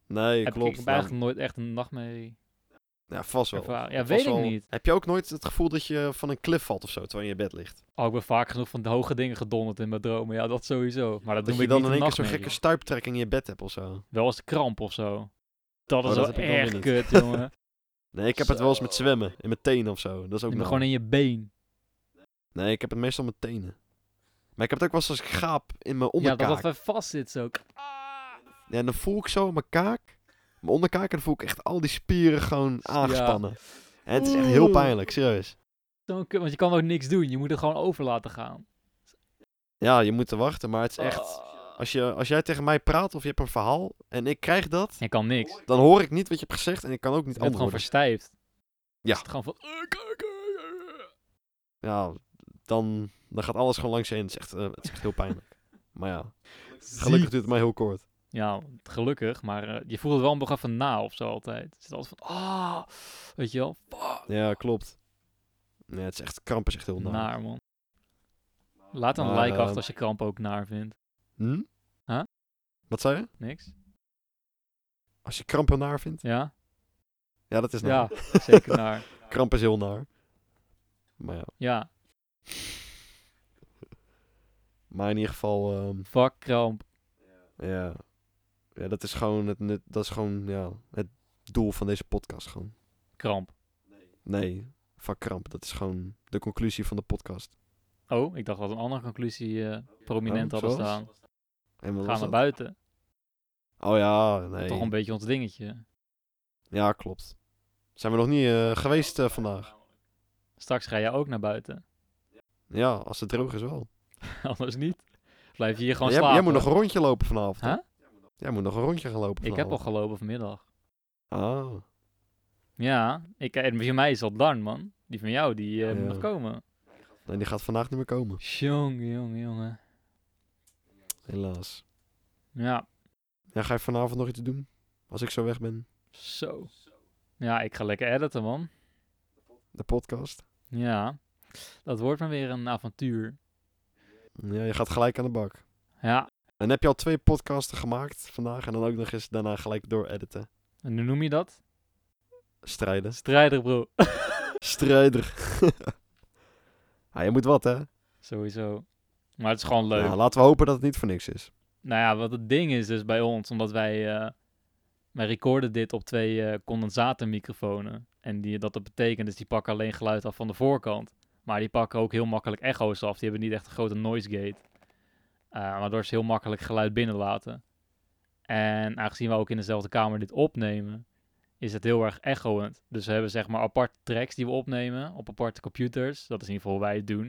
Speaker 1: Nee,
Speaker 2: heb ik, ik
Speaker 1: klopt.
Speaker 2: heb
Speaker 1: Nou,
Speaker 2: eigenlijk nooit echt een nachtmerrie
Speaker 1: ja, vast wel.
Speaker 2: ervaren. Ja,
Speaker 1: Vast
Speaker 2: weet ik
Speaker 1: wel.
Speaker 2: niet.
Speaker 1: Heb je ook nooit het gevoel dat je van een klif valt of zo, terwijl je in je bed ligt?
Speaker 2: Oh, ik ben vaak genoeg van de hoge dingen gedonderd in mijn dromen. Ja, dat sowieso. Maar
Speaker 1: Dat
Speaker 2: dat, doe
Speaker 1: je
Speaker 2: ik
Speaker 1: dan
Speaker 2: niet
Speaker 1: in één keer zo'n
Speaker 2: nachtmerrie.
Speaker 1: gekke stuiptrekking in je bed hebt of zo.
Speaker 2: Wel als de kramp of zo. Dat
Speaker 1: Oh,
Speaker 2: is
Speaker 1: dat
Speaker 2: wel
Speaker 1: heb ik dan weer
Speaker 2: echt
Speaker 1: niet.
Speaker 2: kut, jongen.
Speaker 1: Nee, ik heb het wel eens met
Speaker 2: Zo.
Speaker 1: zwemmen, in mijn tenen of zo. Dat is ook
Speaker 2: Je bent
Speaker 1: nog-
Speaker 2: gewoon in je been.
Speaker 1: Nee, ik heb het meestal met tenen. Maar ik heb het ook wel eens als ik gaap in mijn
Speaker 2: Ja,
Speaker 1: onderkaak.
Speaker 2: dat
Speaker 1: Ja,
Speaker 2: dat vast vastzit zo. Ah.
Speaker 1: en dan voel ik zo mijn kaak, mijn onderkaak, en dan voel ik echt al die spieren gewoon aangespannen. En het is echt heel
Speaker 2: Oeh.
Speaker 1: pijnlijk, serieus.
Speaker 2: Zo'n kut, want je kan ook niks doen. Je moet er gewoon over laten gaan.
Speaker 1: Ja, je moet te wachten, maar het is echt...
Speaker 2: Ah.
Speaker 1: Als, je, als jij tegen mij praat of je hebt een verhaal en ik krijg dat,
Speaker 2: Je kan niks.
Speaker 1: dan hoor ik niet wat je hebt gezegd en ik kan ook
Speaker 2: Je
Speaker 1: niet
Speaker 2: bent gewoon
Speaker 1: antwoorden.
Speaker 2: verstijfd.
Speaker 1: Ja.
Speaker 2: Is het gewoon van...
Speaker 1: Ja, dan, dan gaat alles gewoon langs je heen. Het is echt, eh, het is echt heel pijnlijk. Maar ja,
Speaker 2: Ziek.
Speaker 1: gelukkig duurt het mij heel kort.
Speaker 2: ja, gelukkig, maar eh, je voelt het wel een beetje van na of zo altijd. Het is altijd van, ah, weet je wel, fuck.
Speaker 1: Ja, klopt. Nee, het is echt, kramp is echt heel naar.
Speaker 2: naar, man. Laat een
Speaker 1: Maar,
Speaker 2: like
Speaker 1: eh,
Speaker 2: achter als je kramp ook naar vindt.
Speaker 1: Hm?
Speaker 2: Huh?
Speaker 1: Wat zei je?
Speaker 2: Niks?
Speaker 1: Als je kramp heel naar vindt?
Speaker 2: Ja?
Speaker 1: Ja, dat is naar.
Speaker 2: Ja, zeker naar.
Speaker 1: Kramp is heel naar. Maar ja.
Speaker 2: Ja,
Speaker 1: Maar in ieder geval, ehm,
Speaker 2: fuck kramp.
Speaker 1: ja. Ja, dat is gewoon, het, nut- dat is gewoon ja, het doel van deze podcast gewoon.
Speaker 2: Kramp.
Speaker 1: Nee, van kramp. Dat is gewoon de conclusie van de podcast.
Speaker 2: Oh, ik dacht dat een andere conclusie eh, prominent
Speaker 1: Oh,
Speaker 2: hadden
Speaker 1: zoals?
Speaker 2: staan.
Speaker 1: En wat
Speaker 2: Ga
Speaker 1: was
Speaker 2: naar
Speaker 1: dat?
Speaker 2: buiten.
Speaker 1: Oh ja, nee.
Speaker 2: Toch een beetje ons dingetje.
Speaker 1: Ja, klopt. Zijn we nog niet eh, geweest eh, vandaag?
Speaker 2: Straks ga jij ook naar buiten.
Speaker 1: Ja, als het droog is wel.
Speaker 2: Anders niet. Blijf je hier gewoon
Speaker 1: jij,
Speaker 2: slapen.
Speaker 1: jij moet nog een rondje lopen vanavond. hè?
Speaker 2: Huh?
Speaker 1: Jij moet nog een rondje gaan lopen
Speaker 2: Ik heb al
Speaker 1: vanavond.
Speaker 2: gelopen vanmiddag.
Speaker 1: Ah,
Speaker 2: Ja, ik, en die van mij is al done, man. Die van jou, die eh, moet
Speaker 1: Ja.
Speaker 2: nog komen.
Speaker 1: nee, die gaat vandaag niet meer komen.
Speaker 2: Jongen, jongen, jongen.
Speaker 1: Helaas.
Speaker 2: Ja,
Speaker 1: Ja, ga je vanavond nog iets doen? Als ik zo weg ben?
Speaker 2: zo. Ja, ik ga lekker editen, man.
Speaker 1: De podcast?
Speaker 2: Ja, dat wordt maar weer een avontuur.
Speaker 1: Ja, je gaat gelijk aan de bak.
Speaker 2: Ja,
Speaker 1: En heb je al twee podcasten gemaakt vandaag en dan ook nog eens daarna gelijk door editen.
Speaker 2: en hoe noem je dat?
Speaker 1: Strijden.
Speaker 2: Strijder, bro.
Speaker 1: Strijder. ja, je moet wat, hè?
Speaker 2: Sowieso. Maar het is gewoon leuk.
Speaker 1: Nou, laten we hopen dat het niet voor niks is.
Speaker 2: Nou ja, wat het ding is dus bij ons, omdat wij, eh, wij recorden dit op twee eh, condensatormicrofonen. En die, dat dat betekent dus die pakken alleen geluid af van de voorkant. Maar die pakken ook heel makkelijk echo's af. Die hebben niet echt een grote noise gate. Eh, waardoor ze heel makkelijk geluid binnenlaten. En aangezien we ook in dezelfde kamer dit opnemen, is het heel erg echoend. Dus we hebben zeg maar aparte tracks die we opnemen op aparte computers. Dat is in ieder geval hoe wij het doen.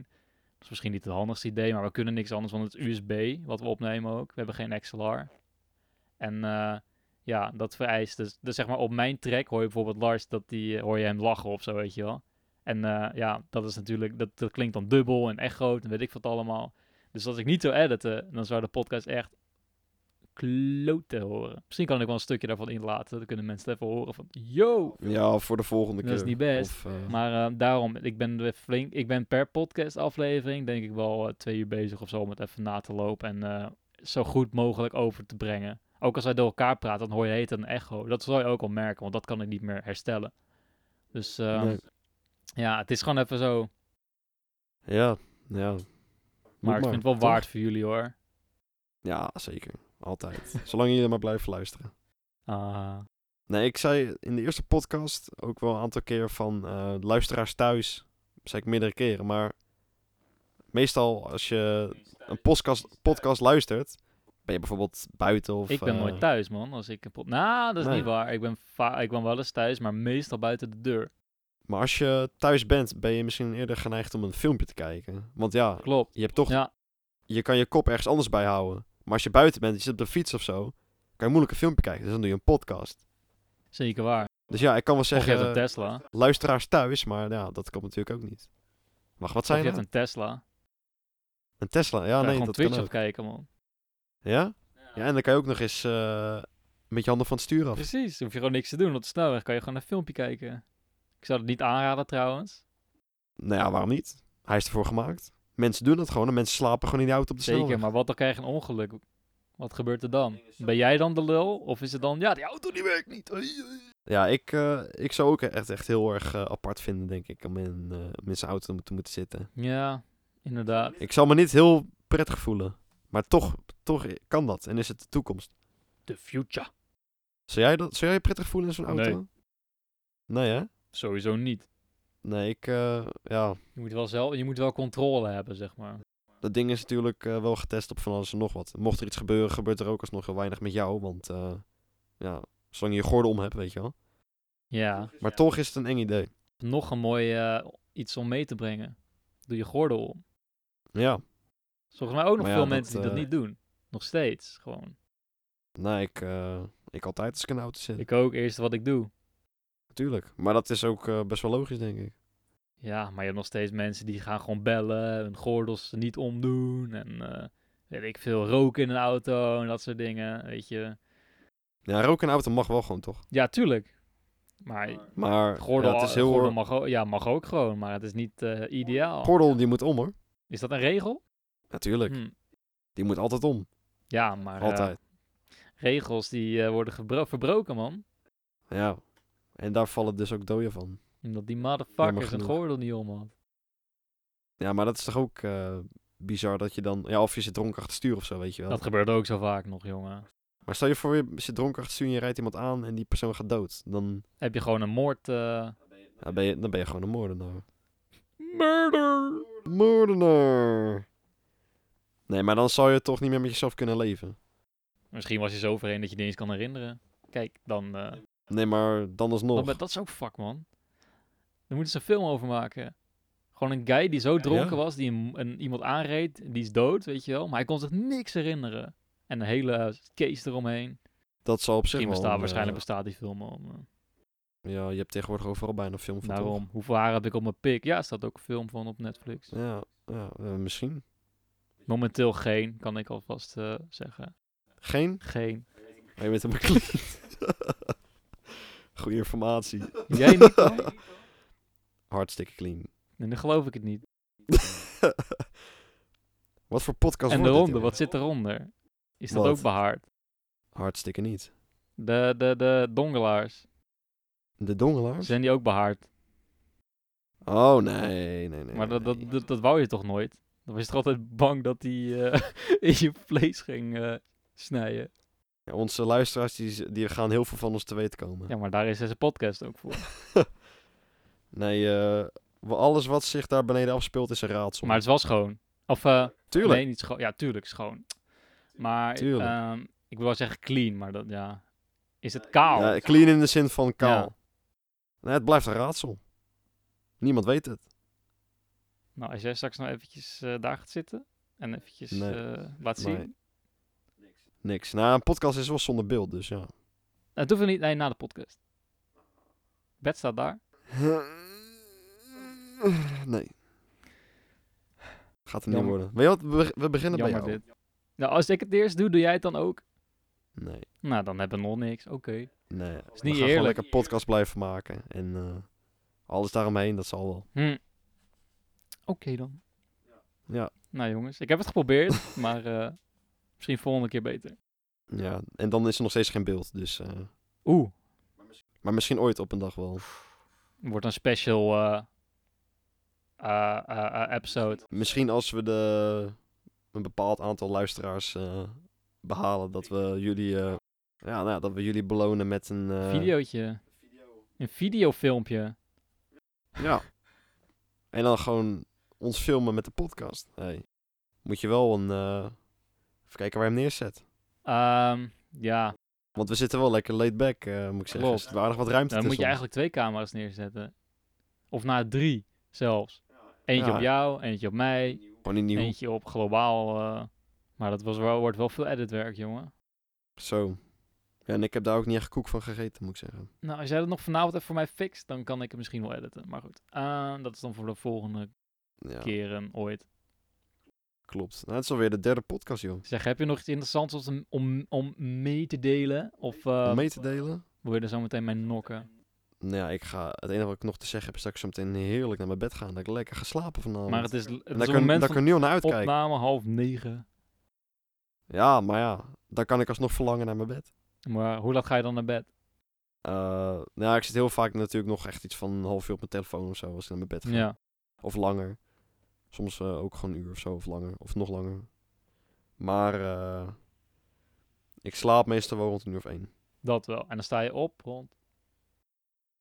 Speaker 2: Dat is misschien niet het handigste idee, maar we kunnen niks anders dan het USB, wat we opnemen ook. We hebben geen XLR. En eh, ja, dat vereist dus, dus zeg maar op mijn track hoor je bijvoorbeeld Lars, dat die, eh, hoor je hem lachen of zo, weet je wel. En eh, ja, dat is natuurlijk, dat, dat klinkt dan dubbel en echo en weet ik wat allemaal. Dus als ik niet zou editen, dan zou de podcast echt kloten horen. Misschien kan ik wel een stukje daarvan inlaten, dan kunnen mensen het even horen van, yo!
Speaker 1: Ja, voor de volgende
Speaker 2: Dat
Speaker 1: keer.
Speaker 2: is niet best.
Speaker 1: Of, eh,
Speaker 2: Maar eh, daarom, ik ben weer flink. Ik ben per podcast aflevering denk ik wel eh, twee uur bezig of zo om het even na te lopen en eh, zo goed mogelijk over te brengen. Ook als wij door elkaar praten, dan hoor je heet een echo. Dat zal je ook al merken, want dat kan ik niet meer herstellen. Dus eh,
Speaker 1: nee.
Speaker 2: ja, het is gewoon even zo. Maar
Speaker 1: Ja, ja. Moet
Speaker 2: ik vind het wel
Speaker 1: toch?
Speaker 2: waard voor jullie hoor.
Speaker 1: Ja, zeker. Altijd. Zolang jullie maar blijven luisteren.
Speaker 2: Ah,
Speaker 1: Nee, ik zei in de eerste podcast ook wel een aantal keer van eh, luisteraars thuis. Zei ik meerdere keren, maar meestal als je een podcast, podcast luistert, ben je bijvoorbeeld buiten of...
Speaker 2: ik ben nooit
Speaker 1: eh,
Speaker 2: thuis man, als ik een pot. Nou, dat is
Speaker 1: Nee.
Speaker 2: niet waar. Ik ben, va- ik ben wel eens thuis, maar meestal buiten de deur.
Speaker 1: Maar als je thuis bent, ben je misschien eerder geneigd om een filmpje te kijken. Want ja,
Speaker 2: Klopt.
Speaker 1: je hebt toch...
Speaker 2: Ja.
Speaker 1: Je kan je kop ergens anders bij houden. Maar als je buiten bent, je zit op de fiets of zo, kan je moeilijk een filmpje kijken. Dus dan doe je een podcast.
Speaker 2: Zeker waar.
Speaker 1: Dus ja, ik kan wel
Speaker 2: Of je
Speaker 1: zeggen...
Speaker 2: hebt een Tesla.
Speaker 1: luisteraars thuis, maar ja, dat komt natuurlijk ook niet. Wacht, wat
Speaker 2: Of je
Speaker 1: zijn
Speaker 2: hebt
Speaker 1: dat?
Speaker 2: een Tesla.
Speaker 1: Een Tesla? Ja,
Speaker 2: Kan je
Speaker 1: nou? Ah, nee,
Speaker 2: gewoon
Speaker 1: dat
Speaker 2: Twitch
Speaker 1: kan ook.
Speaker 2: afkijken, man.
Speaker 1: Ja? Ja, en dan kan je ook nog eens eh, met je handen van het stuur af.
Speaker 2: Precies, hoef je gewoon niks te doen. Op de snelweg kan je gewoon een filmpje kijken. Ik zou het niet aanraden trouwens.
Speaker 1: Nou ja, waarom niet? Hij is ervoor gemaakt. Mensen doen dat gewoon en mensen slapen gewoon in die auto op de
Speaker 2: Zeker,
Speaker 1: snelweg.
Speaker 2: maar wat dan krijg je een ongeluk? Wat gebeurt er dan? Ben jij dan de lul? Of is het dan, ja, die auto die werkt niet. Oei, oei.
Speaker 1: Ja, ik, eh, ik zou ook echt, echt heel erg eh, apart vinden, denk ik, om in, eh, om in zijn auto te moeten zitten.
Speaker 2: Ja, inderdaad.
Speaker 1: Ik zal me niet heel prettig voelen, maar toch, toch kan dat en is het de toekomst.
Speaker 2: The future.
Speaker 1: Zou jij, dat, zou jij je prettig voelen in zo'n auto?
Speaker 2: Nee.
Speaker 1: Nee, hè?
Speaker 2: Sowieso niet.
Speaker 1: Nee, ik, eh, ja,
Speaker 2: Je moet wel, zelf, je moet wel controle hebben, zeg maar.
Speaker 1: Dat ding is natuurlijk eh, wel getest op van alles en nog wat. Mocht er iets gebeuren, gebeurt er ook alsnog heel weinig met jou. Want eh, ja, zolang je je gordel om hebt, weet je wel.
Speaker 2: Ja,
Speaker 1: Maar toch is het een eng idee.
Speaker 2: nog een mooi eh, iets om mee te brengen. Doe je gordel om.
Speaker 1: Ja,
Speaker 2: Volgens mij ook nog
Speaker 1: Maar ja,
Speaker 2: veel
Speaker 1: dat,
Speaker 2: mensen die dat
Speaker 1: eh,
Speaker 2: niet doen. Nog steeds, gewoon.
Speaker 1: nou, ik, eh, ik altijd als ik in de auto zit.
Speaker 2: Ik ook, eerst wat ik doe.
Speaker 1: Natuurlijk. Maar dat is ook eh, best wel logisch, denk ik.
Speaker 2: Ja, maar je hebt nog steeds mensen die gaan gewoon bellen, hun gordels niet omdoen en eh, weet ik veel, roken in een auto en dat soort dingen, weet je.
Speaker 1: Ja, roken in een auto mag wel gewoon, toch?
Speaker 2: Ja, tuurlijk. Maar
Speaker 1: Maar
Speaker 2: gordel,
Speaker 1: ja, het is heel...
Speaker 2: gordel mag, ook, ja, mag ook gewoon, maar het is niet eh, ideaal.
Speaker 1: Gordel, die moet om, hoor.
Speaker 2: Is dat een regel?
Speaker 1: Natuurlijk.
Speaker 2: Hm.
Speaker 1: Die moet altijd om.
Speaker 2: Ja, maar eh,
Speaker 1: Altijd.
Speaker 2: regels die eh, worden gebro- verbroken, man.
Speaker 1: Ja. En daar vallen dus ook doden van.
Speaker 2: Omdat die motherfuckers het
Speaker 1: genoeg.
Speaker 2: gordel niet om had.
Speaker 1: Ja, maar dat is toch ook eh, bizar dat je dan... Ja, of je zit dronken achter het stuur of zo, weet je wel.
Speaker 2: Dat gebeurt ook zo vaak nog, jongen.
Speaker 1: Maar stel je voor, je zit dronken achter het stuur en je rijdt iemand aan en die persoon gaat dood. Dan,
Speaker 2: Heb je gewoon een moord... eh,
Speaker 1: ja, ben, je, dan ben je gewoon een moordenaar.
Speaker 2: Murder!
Speaker 1: Moordenaar! Nee, maar dan zou je toch niet meer met jezelf kunnen leven.
Speaker 2: Misschien was je zo overheen dat je het niet eens kan herinneren. Kijk, dan... eh,
Speaker 1: Nee, maar dan alsnog.
Speaker 2: dat, dat is ook fuck, man. Daar moeten ze een film over maken. Gewoon een guy die zo dronken
Speaker 1: Ja.
Speaker 2: was, die een, een- iemand aanreed, die is dood, weet je wel. Maar hij kon zich niks herinneren. En een hele eh, case eromheen.
Speaker 1: Dat zal op zich
Speaker 2: Misschien
Speaker 1: wel...
Speaker 2: bestaat,
Speaker 1: een,
Speaker 2: waarschijnlijk
Speaker 1: eh,
Speaker 2: bestaat die film al. maar
Speaker 1: Ja, je hebt tegenwoordig overal bijna een film van, toch?
Speaker 2: Daarom. Hoeveel haar heb ik op mijn pik? Ja, staat ook een film van op Netflix.
Speaker 1: Ja, ja eh, misschien.
Speaker 2: Momenteel geen, kan ik alvast eh, zeggen.
Speaker 1: Geen?
Speaker 2: Geen.
Speaker 1: Maar je bent hem clean. Goede informatie.
Speaker 2: Jij niet? Kai?
Speaker 1: Hartstikke clean.
Speaker 2: Nee, dan geloof ik het niet.
Speaker 1: Wat voor podcast
Speaker 2: en de
Speaker 1: wordt dit,
Speaker 2: ronde,
Speaker 1: jongen?
Speaker 2: wat zit eronder? Is dat
Speaker 1: Wat?
Speaker 2: ook behaard?
Speaker 1: Hartstikke niet.
Speaker 2: De, de, de dongelaars,
Speaker 1: De dongelaars?
Speaker 2: zijn die ook behaard?
Speaker 1: Oh, nee, nee, nee.
Speaker 2: maar dat,
Speaker 1: nee.
Speaker 2: dat, dat, dat wou je toch nooit? Dan was je toch altijd bang dat die eh, in je vlees ging eh, snijden?
Speaker 1: Ja, onze luisteraars die, z- die gaan heel veel van ons te weten komen.
Speaker 2: Ja, maar daar is deze podcast ook voor.
Speaker 1: Nee, eh, wa- alles wat zich daar beneden afspeelt is een raadsel.
Speaker 2: Maar het is wel schoon. Of, eh,
Speaker 1: Tuurlijk.
Speaker 2: nee, niet schoon. Ja, tuurlijk, schoon. Maar,
Speaker 1: Tuurlijk.
Speaker 2: ehm, ik wil wel zeggen clean, maar dat, ja... Is het kaal?
Speaker 1: Ja, clean in de zin van kaal.
Speaker 2: Ja.
Speaker 1: Nee, het blijft een raadsel. Niemand weet het.
Speaker 2: Nou, als jij straks nou eventjes eh, daar gaat zitten en eventjes
Speaker 1: Nee.
Speaker 2: eh, laat zien.
Speaker 1: Nee. Niks. Nou, een podcast is wel zonder beeld, dus ja.
Speaker 2: Het hoeft niet, nee, na de podcast. Bed staat daar.
Speaker 1: Nee. Gaat het niet
Speaker 2: Jammer.
Speaker 1: worden. Weet je wat, we, we beginnen
Speaker 2: Jammer
Speaker 1: bij jou.
Speaker 2: dit. Nou, als ik het eerst doe, doe jij het dan ook?
Speaker 1: Nee,
Speaker 2: Nou, dan hebben we nog niks. Oké.
Speaker 1: nee. Is we
Speaker 2: niet
Speaker 1: gaan
Speaker 2: eerlijk.
Speaker 1: gewoon lekker podcast blijven maken. En eh, alles daaromheen, dat zal wel.
Speaker 2: Hm. Oké dan.
Speaker 1: Ja.
Speaker 2: Nou jongens, ik heb het geprobeerd, maar eh, misschien volgende keer beter.
Speaker 1: ja. En dan is er nog steeds geen beeld, dus... eh,
Speaker 2: Oeh,
Speaker 1: maar misschien ooit op een dag wel.
Speaker 2: wordt een special eh, eh, eh, eh, episode.
Speaker 1: Misschien als we de, een bepaald aantal luisteraars eh, behalen, dat we jullie... eh, ja, nou, ja, dat we jullie belonen met een... eh,
Speaker 2: Videootje. Een videofilmpje.
Speaker 1: Ja. En dan gewoon ons filmen met de podcast. Hey. Moet je wel een... eh, even kijken waar je hem neerzet.
Speaker 2: Ehm, ja,
Speaker 1: Want we zitten wel lekker laid back, eh, moet ik zeggen.
Speaker 2: Klopt.
Speaker 1: Er zit wel aardig wat ruimte
Speaker 2: dan moet je
Speaker 1: tussen ons.
Speaker 2: eigenlijk twee camera's neerzetten. Of na drie zelfs. Eentje
Speaker 1: Ja.
Speaker 2: op jou, eentje op mij,
Speaker 1: Gewoon niet nieuw.
Speaker 2: Eentje op globaal. eh, maar dat was wel, wordt wel veel editwerk, jongen.
Speaker 1: Zo. Ja, en ik heb daar ook niet echt koek van gegeten, moet ik zeggen.
Speaker 2: Nou, als jij dat nog vanavond even voor mij fixt, dan kan ik het misschien wel editen. Maar goed, eh, dat is dan voor de volgende
Speaker 1: Ja,
Speaker 2: keren ooit.
Speaker 1: klopt. Nou, het is alweer de derde podcast, joh.
Speaker 2: Zeg, heb je nog iets interessants om, om, om mee te delen? Of eh,
Speaker 1: Om mee te delen.
Speaker 2: wil je er zo meteen mee nokken?
Speaker 1: Nou ja, ik ga... Het enige wat ik nog te zeggen heb, is dat ik zo meteen heerlijk naar mijn bed ga. En dat ik lekker ga slapen vanavond.
Speaker 2: Maar het is, het
Speaker 1: en
Speaker 2: is
Speaker 1: dat
Speaker 2: een
Speaker 1: ik, er-
Speaker 2: moment
Speaker 1: dat ik
Speaker 2: van
Speaker 1: er nu al naar uitkijk.
Speaker 2: opname half negen.
Speaker 1: Ja, maar ja. Dan kan ik alsnog verlangen naar mijn bed.
Speaker 2: Maar hoe laat ga je dan naar bed?
Speaker 1: Eh, nou, ja, ik zit heel vaak natuurlijk nog echt iets van een half uur op mijn telefoon of zo als ik naar mijn bed ga.
Speaker 2: Ja.
Speaker 1: Of langer. Soms eh, ook gewoon een uur of zo of langer. Of nog langer. Maar eh, ik slaap meestal wel rond een uur of één.
Speaker 2: Dat wel. En dan sta je op rond.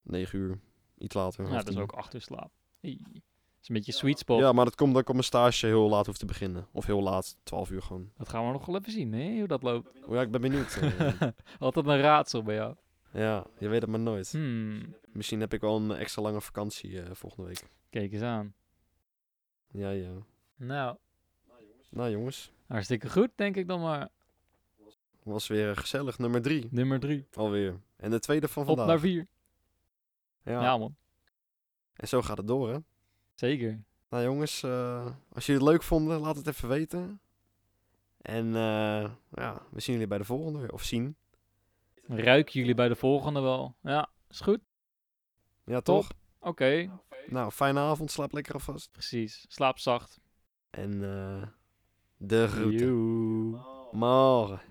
Speaker 1: Negen uur. Iets later.
Speaker 2: Ja,
Speaker 1: half
Speaker 2: dat nou, is
Speaker 1: tien.
Speaker 2: ook acht uur slaap. Hey. Dat is een beetje sweet spot.
Speaker 1: Ja, maar dat komt dat ik op mijn stage heel laat hoef te beginnen. Of heel laat, twaalf uur gewoon.
Speaker 2: Dat gaan we nog wel even zien, hè? Hoe dat loopt.
Speaker 1: Oh ja, ik ben benieuwd. eh.
Speaker 2: Altijd een raadsel bij jou.
Speaker 1: ja, je weet het maar nooit.
Speaker 2: Hmm,
Speaker 1: Misschien heb ik wel een extra lange vakantie eh, volgende week.
Speaker 2: kijk eens aan.
Speaker 1: Ja, ja.
Speaker 2: Nou,
Speaker 1: Nou jongens,
Speaker 2: hartstikke goed, denk ik dan maar.
Speaker 1: was weer eh, gezellig. Nummer drie
Speaker 2: Nummer drie.
Speaker 1: alweer. En de tweede van
Speaker 2: Op
Speaker 1: vandaag.
Speaker 2: naar vier. Ja.
Speaker 1: Ja.
Speaker 2: man.
Speaker 1: En zo gaat het door, hè?
Speaker 2: Zeker.
Speaker 1: Nou jongens, eh, als jullie het leuk vonden, laat het even weten. En eh, ja, we zien jullie bij de volgende. Of zien.
Speaker 2: Ruiken jullie bij de volgende wel? Ja, is goed.
Speaker 1: Ja, toch?
Speaker 2: Oké,
Speaker 1: Nou, fijne avond. Slaap lekker alvast.
Speaker 2: precies. Slaap zacht.
Speaker 1: En eh, de groeten.
Speaker 2: Joe.
Speaker 1: Morgen.